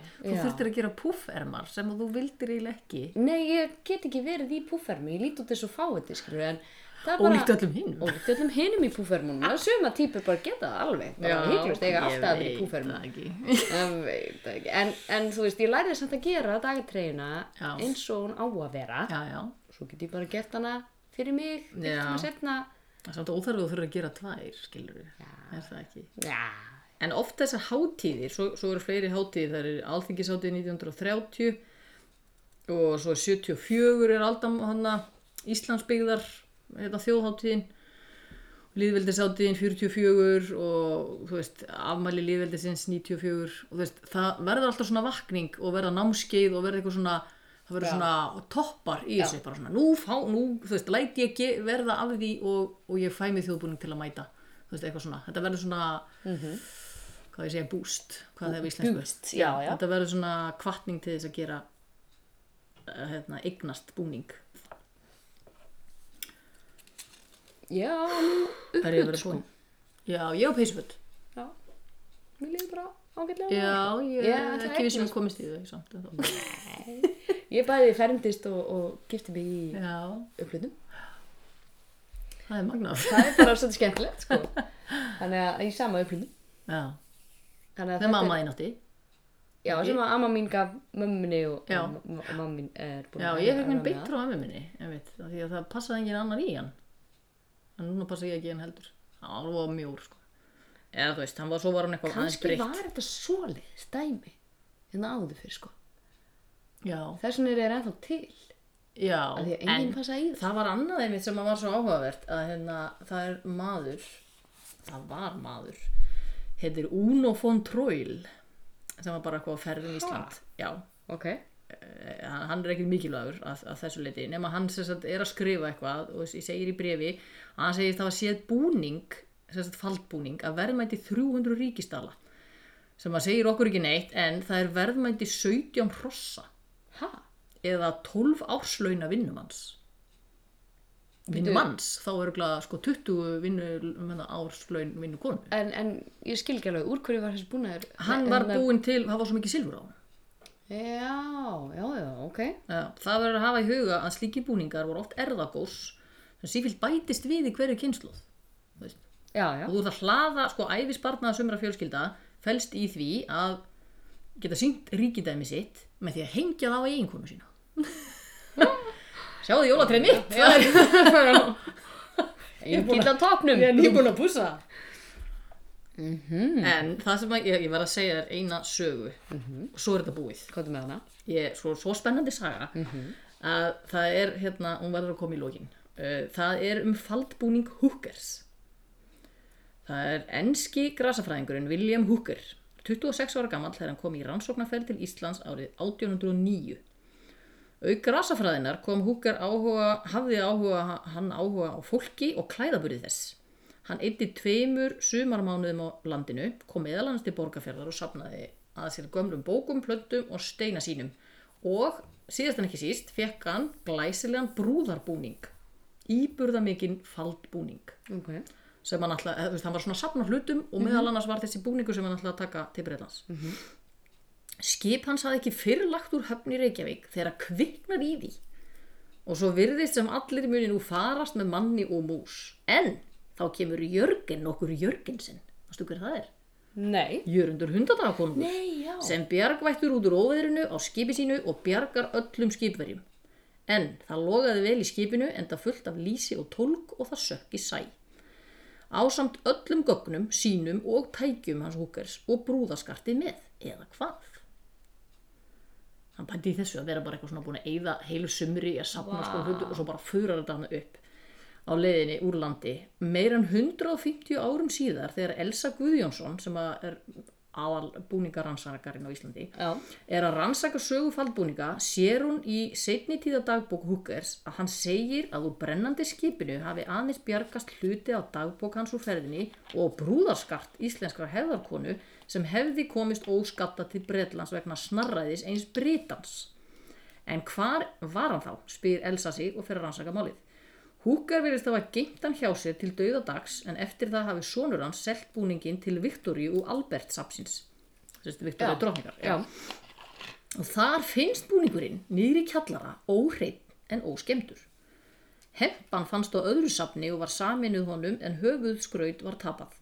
Já,
Þú
já.
þurftir að gera púffermar sem að þú vildir eiginlega ekki.
nei, ég get ekki verið í púfermi, ég líti út þessu fáiði, skilur, en það er bara...
Ólíkt öllum hinum.
Ólíkt öllum hinum í púfermunum, það suma típur bara geta það alveg, bara hygglust eiga alltaf að vera í púfermunum.
púffermar.
En, veit það ekki. en, en þú veist, ég lærið samt að gera dagatreyna
Já.
eins og hún á að vera.
Já, já.
Svo get ég bara gert hana fyrir mig,
Já.
eitthvað setna.
Það er samt óþarfið að þú þurfir að gera tvær, skilur Er það ekki?
Já,
En oft þessar hátíðir, svo, svo eru fleiri hátíðir, það eru alþingishátíð 1930 og svo 74 er aldam hana Íslandsbyggðar hérna, þjóðhátíðin, líðveldishátíðin 44 og þú veist, afmæli líðveldisins 94 og þú veist, það verður alltaf svona vakning og verða námskeið og verða eitthvað svona það verður svona toppar í þessu bara svona, nú fá, nú, þú veist, læt ég ge- verða af því og, og ég fæ mig þjóðbúning til að mæta, þú veist, eitthvað svona þetta verður svona hvað ég segja, boost, hvað það er á íslensku boost,
já, já.
þetta verður svona kvartning til þess að gera eh, hérna, eignast búning
já, nú
það er
sko.
verið búin já, ég og peysföld
Já, mér líður bara ágætlega
já, ég
Já,
er
það er
ekki vissum að komist í þau samt
[LAUGHS]
en þó.
Ég bæði fermdist og, og gifti mig í
já,
upplutum
það er
[LAUGHS]
magnað
Það er bara svolítið skemmtilegt sko. [LAUGHS] Þannig að í sama upplutum
já,
Þannig að
það er
þetta
mamma í nátti
er- Já, sem að amma mín gaf mömmunni og,
Já.
og m- og mamma mín er búin
já,
að-
ég fekk minn
að-
beint frá ömmu minni einmitt, af því að það passaði engin annar í hann en núna passa ég ekki í hann heldur hann var mjór sko eða þú veist, hann var svo var hann eitthvað aðeins
Kannski
breytt
var þetta svolið stæmi en áður fyrir sko
já,
Þess vegna er ég ennþá til
já,
af því að enginn
en
passa í það
Það var annað einmitt sem að var svo áhugavert að hérna, það er maður það var maður heitir Uno von Troil sem var bara eitthvað á ferðum í Ísland já,
ok,
eh, hann, hann er ekkert mikilvægur að, að þessu leiti nema hann sem sagt, er að skrifa eitthvað og ég segir í brefi að hann segist hafa séð búning sem sagt, faldbúning að verðmæti 300 ríkistala sem að segir okkur ekki neitt en það er verðmæti 17 hrossa
ha,
eða 12 árslauna vinnumanns vinnumanns þá eru glæða sko 20 vinnu, menna, árslaun vinnukonu
en, en ég skil ekki alveg, úr hverju var þessi búnaður?
hann
En-
var
en-
búinn til, það var svo mikið silfur á hann
Já, já, já, ok.
Já, það verður að hafa í huga að slíki búningar voru oft erðagós sem sífilt bætist við í hverju kynsluð þú veist
Já, já,
og þú ert að hlaða, sko, æfisbarnaða sumra fjölskylda felst í því að geta syngt ríkidæmi sitt með því að hengja það á
[LAUGHS]
eiginkonu sína Sjáðu jólatreið mitt Það er
enginn á topnum.
Ég er nýbúin að pússa En það sem að, ég, ég var að segja er eina sögu og svo er þetta búið
Hvað er með hana?
ég, svo, svo spennandi saga að það er hérna, hún verður að koma í lokin uh, það er um faldbúning Hookers það er enski grasafræðingurinn William Hooker 26 ára gamall þegar hann kom í rannsóknarferð til Íslands árið 1809 auk grasafræðinar kom Hooker áhuga, hafði áhuga hann áhuga á fólki og klæðaburði þess hann eitti tveimur sumarmánuðum á landinu, kom meðal hans til borgarfjörðar og sapnaði að sér gömlum bókum, plöntum og steina sínum og síðast en ekki síst fekk hann glæsilegan brúðarbúning íburðamikinn faldbúning
Ok,
sem hann alltaf, þú veist, hann var svona að sapna hlutum og meðal annars var þessi búningur sem hann alltaf að taka til Breitlands. Skip hans hafði ekki fyrr lagt úr höfn í Reykjavík þegar að kviknar í því og svo virðist sem allir muni nú farast með manni og mús. En þá kemur Jörgen okkur Jörgensen, varstu hver það er?
nei.
Jörundur hundadagakonungur
Nei, já.
sem bjargvættur út úr óveðrinu á skipi sínu og bjargar öllum skipverjum. En það logaði vel í skipinu en það fullt af lísi og tólk og það sökk í sæ. Ásamt öllum gögnum, sínum og tækjum hans húkers og brúðaskartið með, eða hvað? Hann pændi í þessu að vera bara eitthvað svona búin að eyða heilu sumri í að sapna sko hlutu og svo bara fyrir þetta hann upp á leiðinni úr landi meir en 150 árum síðar þegar Elsa Guðjónsson sem að er aðal búningarannsakarin á Íslandi
Já,
er að rannsaka sögu faldbúninga sér hún í seinni tíða dagbók Hookers að hann segir að úr brennandi skipinu hafi aðeins bjargast hluti á dagbók hans úr ferðinni og brúðarskart íslenskra hefðarkonu sem hefði komist óskatta til Bretlands vegna snarræðis eins Britans. En hvar var hann þá, spyr Elsa sig og fer að rannsaka málið. Húkar verðist hafa geimt hann hjá sér til dauðadags en eftir það hafi sonur hans selt búningin til Viktoríu og Albert sapsins. Þessi Viktoríu drókningar.
já.
Og þar finnst búningurinn niður í kjallara óhreitt en óskemdur. Hempan fannst á öðru safni og var saminuð honum en höfuð skraut var tapað.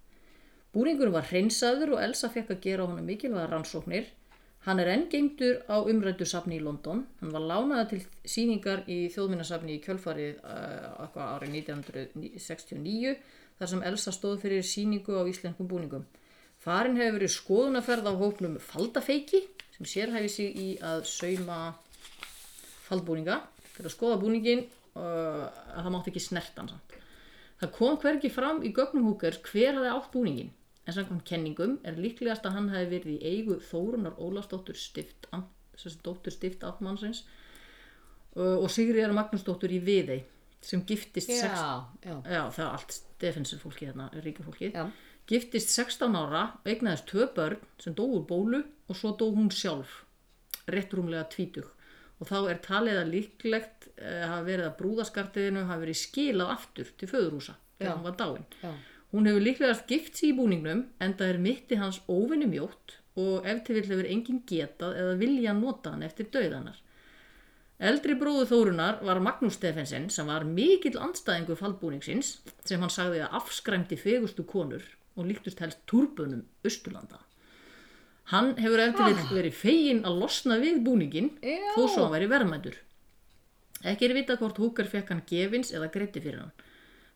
Búningurinn var hreinsaður og Elsa fekk að gera á honum mikilvæga rannsóknir. Hann er enn geimdur á umrættu safni í London. Hann var lánaða til síningar í þjóðminnasafni í kjölfarið uh, árið 1969 þar sem Elsa stóð fyrir síningu á íslenskum búningum. Farin hefur verið skoðunaferð á hópnum Faldafeiki sem sérhæfi sig í að sauma faldbúninga fyrir að skoða búningin uh, að það mátti ekki snerta hann samt. Það kom hvergi fram í gögnum húkers hver hafði átt búningin en samkvæmt kenningum er líklegast að hann hafi verið í eigu Þórunar Ólafsdóttur stift, þessi dóttur stift áttmannsins uh, og Sigriðar Magnúsdóttur í Viðey sem giftist
Já,
16
já.
Já, það er allt defensir fólki hérna, ríka fólki.
Já.
Giftist 16 ára, eignaðist tvö börn sem dó úr bólu og svo dó hún sjálf, rétt rúmlega tvítug. Og þá er talið að líklegt eh, hafa verið að brúðaskartiðinu hafa verið skilað aftur til föðurhúsa þegar
Já.
hann var dáinn.
Já.
Hún hefur líklegast gift sig í búningnum en það er mitti hans óvinni mjótt og ef til vill hefur engin getað eða vilja nota hann eftir dauðanar. Eldri bróðu Þórunar var Magnús Stefensen sem var mikill andstæðingur faldbúningsins sem hann sagði að afskræmdi fegustu konur og líktust helst turbunum Östurlanda. Hann hefur eftir vill verið fegin að losna við búningin
Já.
þó svo hann væri verðmætur. Ekki er vitað hvort Húkar fekk hann gefins eða greiti fyrir hann.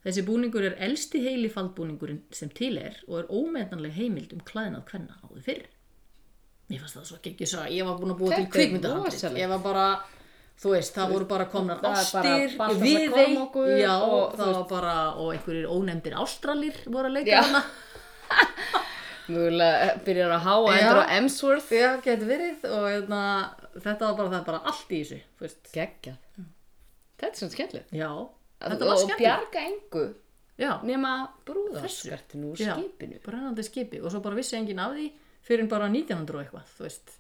Þessi búningur er elsti heili faldbúningurinn sem til er og er ómeðanleg heimild um klæðnað kvenna áður fyrr. Mér fannst það svo geggjur svo ég var búin að búa til
Þetta er
kveikmyndahandrið.
rosalegt.
Ég var bara, þú veist, það voru bara
Það
komnar
er bara
ástir,
Baltasar
viðey,
Kormákur
já,
og
og
þú
það var bara, og einhverjir ónefndir ástralir voru að leika
Já.
hana.
Mögulega eh, byrjar á H og
Já.
endur á Emsworth.
[LAUGHS] Já, getur verið og hérna, þetta var bara, það er bara allt í þessu, þú veist.
Geggjað. Þetta er svona skemmtilegt.
Já,
Að-
þetta var
Og
skemmt.
bjarga engu
Já,
nema brúðarskvertinu úr
Já.
skipinu.
brennandi skipi og svo bara vissi enginn af því fyrir en bara 1900 og eitthvað, þú veist.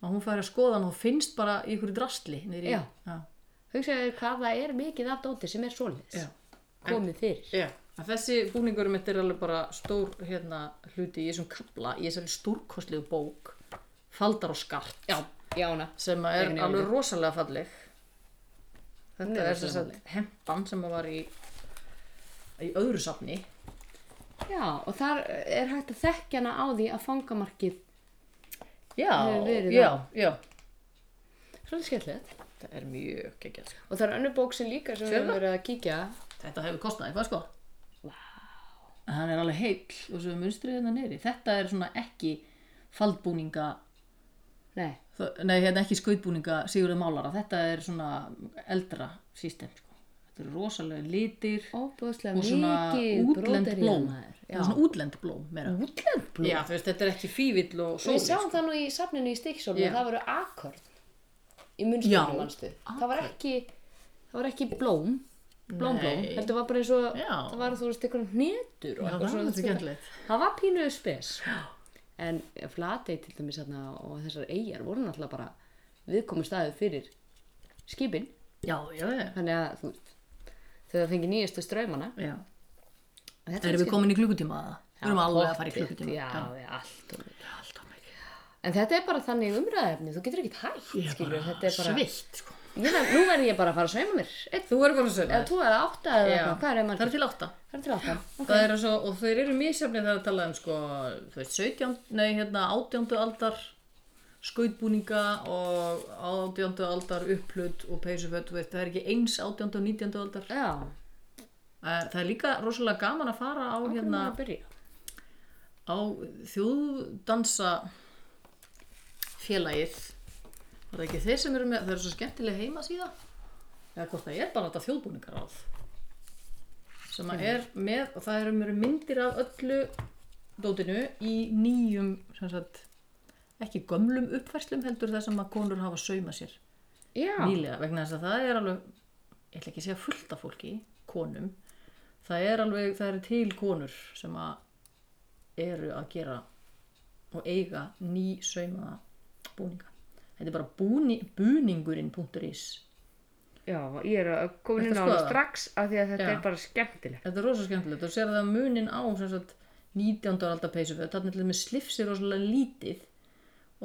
Og hún fær að skoða hann og finnst bara í ykkur drastli niður í.
Já. Hugsaðu þér hvað það er mikið af dóti sem er svoleiðis.
Já.
Komið fyrir.
Já, að þessi búningur mitt er alveg bara stór hérna, hluti í þessum kapla í þessari stórkostlegu bók Faldar og skart
Já, já, hana.
sem að er
Nei, nei,
alveg
nei.
rosalega falleg
Hún
Þetta
er
er þess
rosalega
að hempan sem að var í í öðru safni
Já, og þar er hægt að þekkja hana á því að fangamarkið.
Já,
Hefur verið
já, já
Svolítið skemmtilegt.
Það er mjög sko. geggjast
Og það er önnur bók sem líka sem við
Fjölva?
höfum verið að kíkja.
Þetta hefur kostnaði, hvað sko? Vá Hann er alveg heill og svo er munstrið hérna niðri Þetta er svona ekki faldbúninga
Nei,
Þó- Nei, hérna ekki skautbúninga Sigurður Málara, þetta er svona eldra sístem sko. Þetta eru rosalega litir
óbúðslega
og svona
mikið
útlend
bróðar í
blóm
maður.
og svona útlend blóm meira.
Útlend blóm?
Já, þú veist, þetta er ekki fívill og
Við
sólir
sáum
sko.
það nú í safninu í Stikksólum
Já.
að það voru akkorn í
Já,
munsturnum mannstu. Það var ekki, það var ekki blóm, blóm, blóm.
Nei.
Heldur var bara eins og,
Já.
það var þú veist ykkur hnetur og
Já, það var
svona.
þetta skemmtilegt.
Það var pínuðu spes. En flatei til dæmis hérna og þessar eigjar voru náttúrulega bara viðkomi staðið fyrir skipin.
Já, já, já.
Þannig að þú veist, þau það fengi nýjastu straumana.
já.
Þetta var
Erum við
skemmtilegt.
komin í klukkutíma að það? Við erum alveg að fara í
Pottþétt,
klukkutíma.
Já, já, allt og mikið.
Alltaf mikið.
En þetta er bara þannig umræðefni, þú getur ekkert hægt,
Ég er
skilur,
bara,
þetta er bara...
sveitt sko.
Ég veit, nú verður ég bara að fara að sauma mér. Eitt,
Þú verður bara sögum.
eða tvo eða átta eða eitthvað, hvað er
það
maður?
er til átta.
Það er til átta.
Það eru svo, og þeir eru misjafnir þegar að tala um sko, þú veist, 17, nei, hérna, 18. aldar skautbúninga og 18. aldar upplut og peysuföt, þú veist, það er ekki eins 18. og 19. aldar.
Já,
Eh, Það er líka rosalega gaman að fara á,
hvernig
hérna,
maður að byrja?
á þjóðdansa félagið. Það er ekki þeir sem eru með, það eru svo skemmtilega heimasíða. Eða hvort það er bara þetta þjóðbúningaráð sem að er með, og það eru mjög myndir af öllu dótinu í nýjum, sem sagt, ekki gömlum uppfærslum heldur það sem að konur hafa sauma sér
Já,
nýlega vegna þess að það er alveg ég ætla ekki að segja fullt af fólki, konum það er alveg, það eru til konur sem að eru að gera og eiga ný saumaða búninga þetta er bara búni, búningurinn.is
já, ég er að komin
Ertu að skoða?
af því að
Já.
bara skemmtilegt.
þetta er rosa skemmtilegt og sér það munin á sem sagt 19. aldar peysuföt þarna er með slipsir rosalega lítið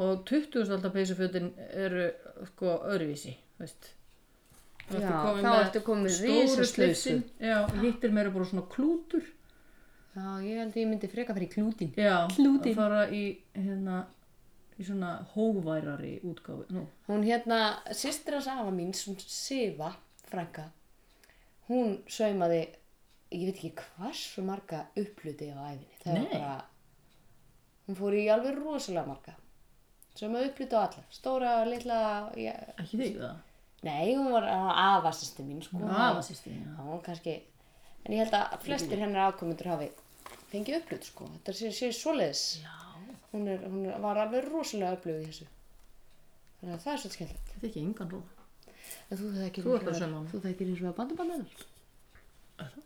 og 20. aldar peysufötin eru sko öðruvísi þú veist Þú
Já,
ertu komin
þá
með
ertu komin með
stóru
risaslausu.
slipsin, já, og hitt er meira bara svona klútur
Já, ég held að ég myndi freka fyrir klútin.
já,
Klútinn.
að fara í hérna í svona hóværari útgáfi Nú,
Hún hérna, sýstir hans afa mín, sem Siva, frænka, hún saumaði, ég veit ekki hversu marga uppluti á æfinni. Það var
Nei.
bara, hún fór í alveg rosalega marga. Saumaði uppluti á alla, stóra, litla, ég,
ekki þig það
Nei, hún var afasýsti mín sko.
afa sýstin
Já, hún kannski En ég held að flestir hennar afkomendur hafi fengið upplöð sko. Þetta sé, sé svoleiðis hún, er, hún er, var alveg rosalega upplöð í þessu Þannig að það er svolítið skemmtilegt
þetta er ekki engan róð
En þú þekkir
Þú ert að sauma hana.
þú þekkir eins og að bandabannar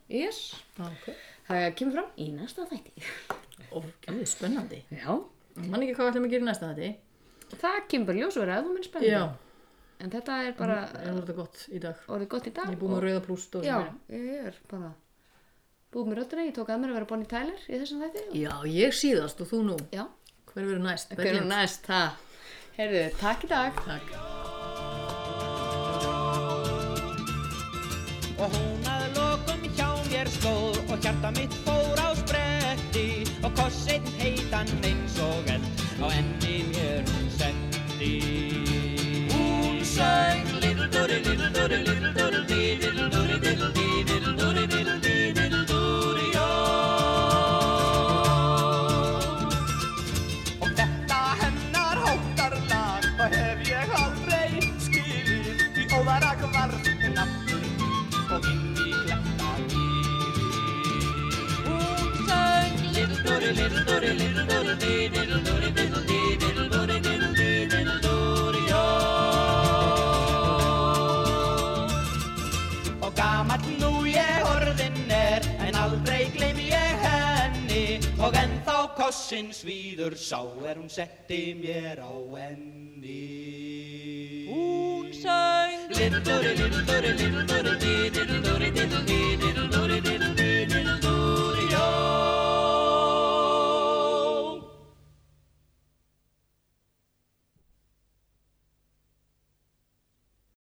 Yes
okay.
Það kemur fram í næsta þætti
og gæði spennandi
Já
mann ekki hvað við ætlum að gera í næsta þetta
Það kemur bara ljós og verið að þú minn spennandi
já,
En þetta er bara
það voru þetta gott í dag
orðið gott í dag
Ég er búin
og-
með rauða pluss stóð
Já, ég er bara búið með röddina, ég tók að mér að vera Bonnie Tyler í þessum þætti og...
Já, ég síðast og þú nú.
Já,
Hver verður næst?
hver er næst það? Herðu, takk í dag
Takk.
og hún að lokum hjá mér stóð og hjarta mitt fór á spretti og kossinn heitan eins og eld á enni mér hún sendi Hún söng Little Dory, Little Dory, Little Dory Dee, Little Dory, Little Dee, Little Dory, Little Dee, Little Dory, já og þetta hennar hóttarlag og hef ég aldrei skilið því óðarag var nafnur og inn í kletta gíli Hún söng Little Dory, Og gamall nú ég orðin er En aldrei gleym ég henni Og ennþá kossin svíður sá Er hún setti mér á enni Hún söng Lindori, lindori, lindori, lindori, lindori, lindori, lindori